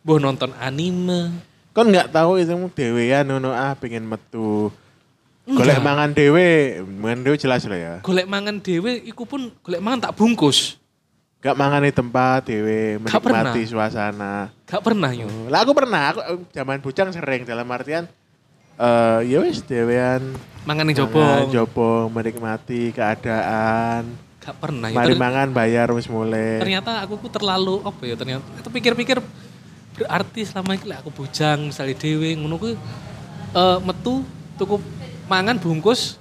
B: Boh nonton anime.
C: Kon nggak tahu itu dewean ngono ah pengen metu.
B: Enggak.
C: Golek mangan dewe, mangan dewe jelas lah ya.
B: golek mangan dewe iku pun golek mangan tak bungkus
C: Gak mangan di tempat dewe,
B: Gak pernah.
C: menikmati suasana.
B: gak pernah yo
C: Lah aku pernah, aku eh, zaman bujang sering dalam artian eh ya wis dewean
B: mangan yang jopo
C: mangan, jobong, menikmati keadaan.
B: gak pernah yo
C: Mari
B: Ter-
C: mangan bayar wis mulai.
B: ternyata aku ku terlalu apa ya ternyata itu pikir-pikir berarti selama ini lek aku bujang misalnya dewe ngono ku eh, metu tuku mangan bungkus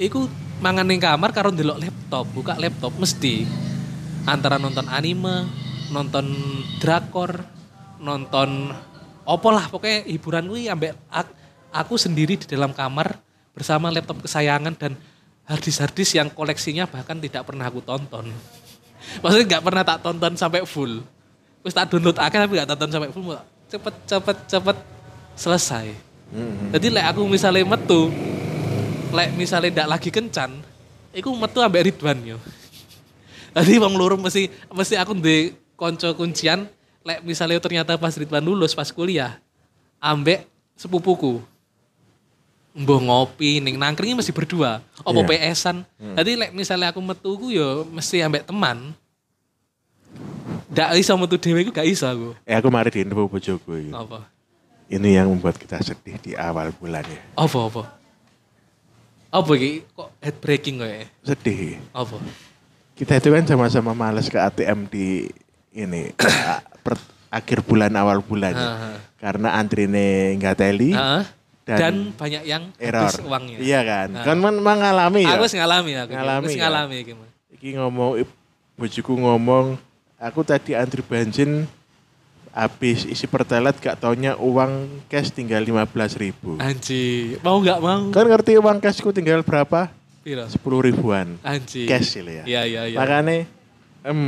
B: iku mangan ning kamar karo ndelok laptop, buka laptop mesti antara nonton anime, nonton drakor, nonton opo lah pokoknya hiburan kuwi ambek ak- aku sendiri di dalam kamar bersama laptop kesayangan dan harddisk-harddisk yang koleksinya bahkan tidak pernah aku tonton. Maksudnya nggak pernah tak tonton sampai full. Terus tak download akhirnya tapi nggak tonton sampai full. Cepet cepet cepet selesai. Jadi lek aku misalnya metu, lek misalnya ndak lagi kencan, iku metu ambek Ridwan yo. Jadi wong loro mesti mesti aku ndek konco kuncian, lek misalnya ternyata pas Ridwan lulus pas kuliah, ambek sepupuku. Mbah ngopi ning nangkringnya mesti berdua. Opo
C: Iya.
B: PS-an.
C: Hmm.
B: Jadi lek misalnya aku metu ku yo mesti ambek teman. Ndak iso metu dhewe ku gak iso aku.
C: Eh aku mari di info bojoku iki.
B: Apa?
C: Ini yang membuat kita sedih di awal bulan ya.
B: Apa apa? Apa iki? Kok head breaking kok ya?
C: Sedih.
B: Apa?
C: Kita itu kan sama-sama males ke ATM di ini a- per- akhir bulan awal bulan ya.
B: Ha, ha.
C: Karena antrine nggak teli.
B: Heeh.
C: Dan-
B: Dan, banyak yang
C: Error.
B: habis uangnya.
C: Iya kan?
B: Ha.
C: Kan men- mengalami ya.
B: Aku wis ngalami aku.
C: Ngalami
B: Ngalami. Wis
C: ya.
B: ngalami iki. Mas.
C: Iki ngomong i- bojoku ngomong aku tadi antri bensin habis isi pertalite gak taunya uang cash tinggal 15 ribu.
B: Anji, mau nggak mau?
C: Kan ngerti uang cashku tinggal berapa?
B: Piro?
C: 10 ribuan.
B: Anji.
C: Cash sih ya.
B: Iya iya iya.
C: Makanya em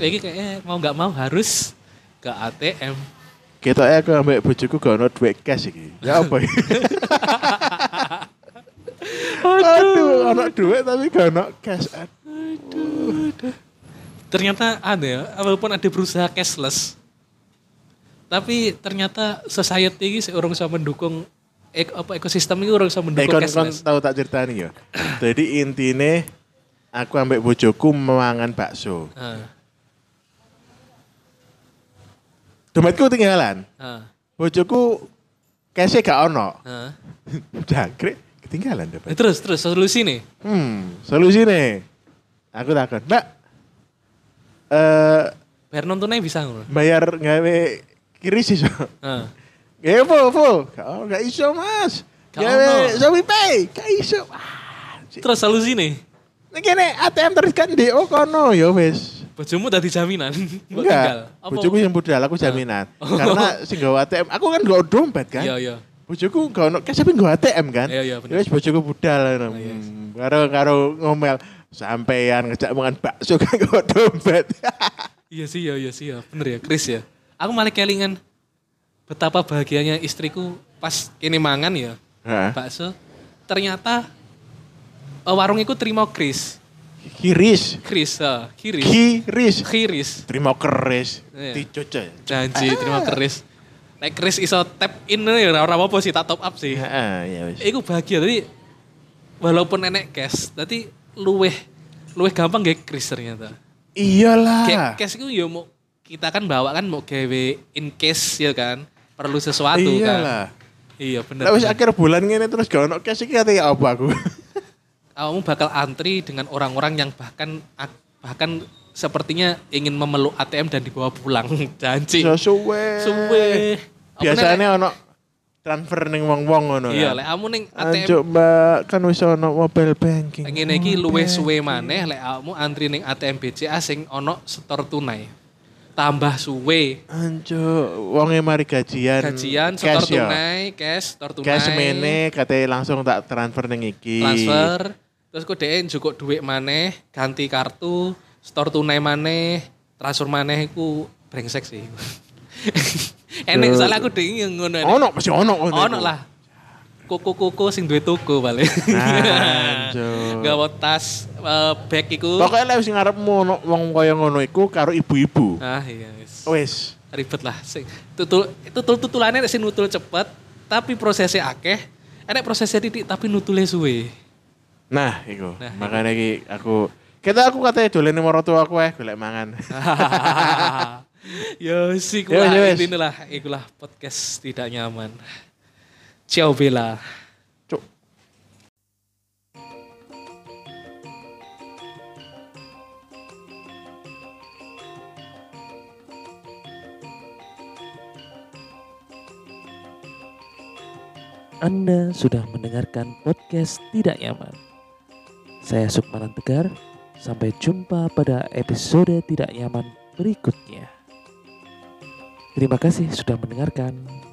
B: Iki kayaknya mau nggak mau harus ke ATM.
C: kita aku ambek bojoku gak ono duit cash iki. Ya apa iki? Aduh, ono duit tapi gak ono cash. Aduh.
B: Ternyata ada ya, walaupun ada berusaha cashless. Tapi ternyata society ini seorang bisa mendukung ek, apa ekosistem ini orang bisa
C: Eh,
B: mendukung
C: kon kon
B: cashless.
C: tahu tak ceritani ya. Jadi intine aku ambek bojoku mangan bakso.
B: Heeh.
C: Dompetku ketinggalan.
B: Heeh.
C: Bojoku cash e gak ono.
B: Heeh.
C: Jangkrik ketinggalan dompet.
B: Eh, Terus terus solusi nih.
C: Hmm, solusi nih. Aku takon, Mbak. Eh,
B: Biar nontonnya bisa ngono.
C: bayar gawe kiri sih. So.
B: Heeh.
C: Ya, po, po. Kau gak iso, Mas.
B: Gak
C: Gawe
B: ono.
C: Shopee Pay, gak iso. Ah, cik.
B: Terus solusi nih.
C: Nih kene ATM terus kan DO kono, ya wis.
B: Bojomu tadi jaminan. Mbok tinggal.
C: Enggak,
B: Apa? Ah.
C: bojoku ya, yang budal, aku jaminan. Karena sing gawe ATM, aku kan gak ada dompet kan.
B: Iya, iya.
C: Bojoku gak ono cash tapi nggo ATM kan.
B: Iya, iya,
C: Ya
B: bener.
C: wis bojoku budal ngono.
B: iya.
C: Hmm, Karo karo ngomel sampean ngejak mangan bakso kan nggo dompet.
B: Iya sih, iya, iya sih, ya. bener ya, Chris ya. Aku malah kelingan betapa bahagianya istriku pas ini mangan ya,
C: Heeh.
B: bakso. Ternyata eh, warung iku terima Chris.
C: Kiris.
B: Chris, eh, Kiris.
C: Kiris.
B: Kiris.
C: Terima keris.
B: Iya.
C: Dicocoy. Ah.
B: Janji, terima Chris. Nek Chris iso tap in ya, ora apa-apa sih, tak top up sih.
C: Heeh, ya wis.
B: Iku bahagia, tadi walaupun nenek cash, tadi luweh, luweh gampang gak Chris ternyata.
C: Iyalah.
B: Kayak cash itu ya mau kita kan bawa kan mau gawe in case ya kan perlu sesuatu kan.
C: Iyalah.
B: Iya bener.
C: Lah wis akhir bulan ngene terus gak ono cash iki kate ya apa aku.
B: Kamu bakal antri dengan orang-orang yang bahkan bahkan sepertinya ingin memeluk ATM dan dibawa pulang. Janji.
C: Ya suwe.
B: Suwe. Apa nek-
C: Biasanya ono transfer ning wong-wong ngono.
B: Iya,
C: kan.
B: lek kamu ning ATM
C: Anjuk Mbak, kan wis ono mobile banking.
B: ngene iki luweh suwe maneh lek kamu antri ning ATM BCA sing ono setor tunai. Tambah suwe.
C: Anjuk, wonge mari gajian.
B: Gajian setor
C: cash ya.
B: tunai, cash, setor tunai.
C: Cash mene kate langsung tak transfer ning iki.
B: transfer terus kok dhek njukuk dhuwit maneh ganti kartu store tunai maneh transfer maneh iku brengsek sih enek soalnya aku dhek yang ngono enek.
C: Ono mesti ono ono.
B: ono lah kuku-kuku sing duwe toko paling
C: Anjur.
B: gawe tas eh, bag iku
C: Pokoke lek sing ngarepmu ono wong kaya ngono iku karo ibu-ibu.
B: ah iya wis
C: Wis.
B: ribet lah sing tutul tutul tutulannya sing nutul cepet tapi prosesnya akeh enek prosesnya titik tapi nutulnya suwe
C: Nah, iku.
B: Nah, iku.
C: Makanya iki aku kita aku katanya dolen marang tua aku eh golek mangan.
B: Yo sih
C: Yo,
B: lah
C: yo, wes.
B: inilah ikulah podcast tidak nyaman. Ciao Bella.
C: Cuk.
D: Anda sudah mendengarkan podcast Tidak Nyaman.
B: Saya Sukmanan Tegar. Sampai jumpa pada episode tidak nyaman berikutnya. Terima kasih sudah mendengarkan.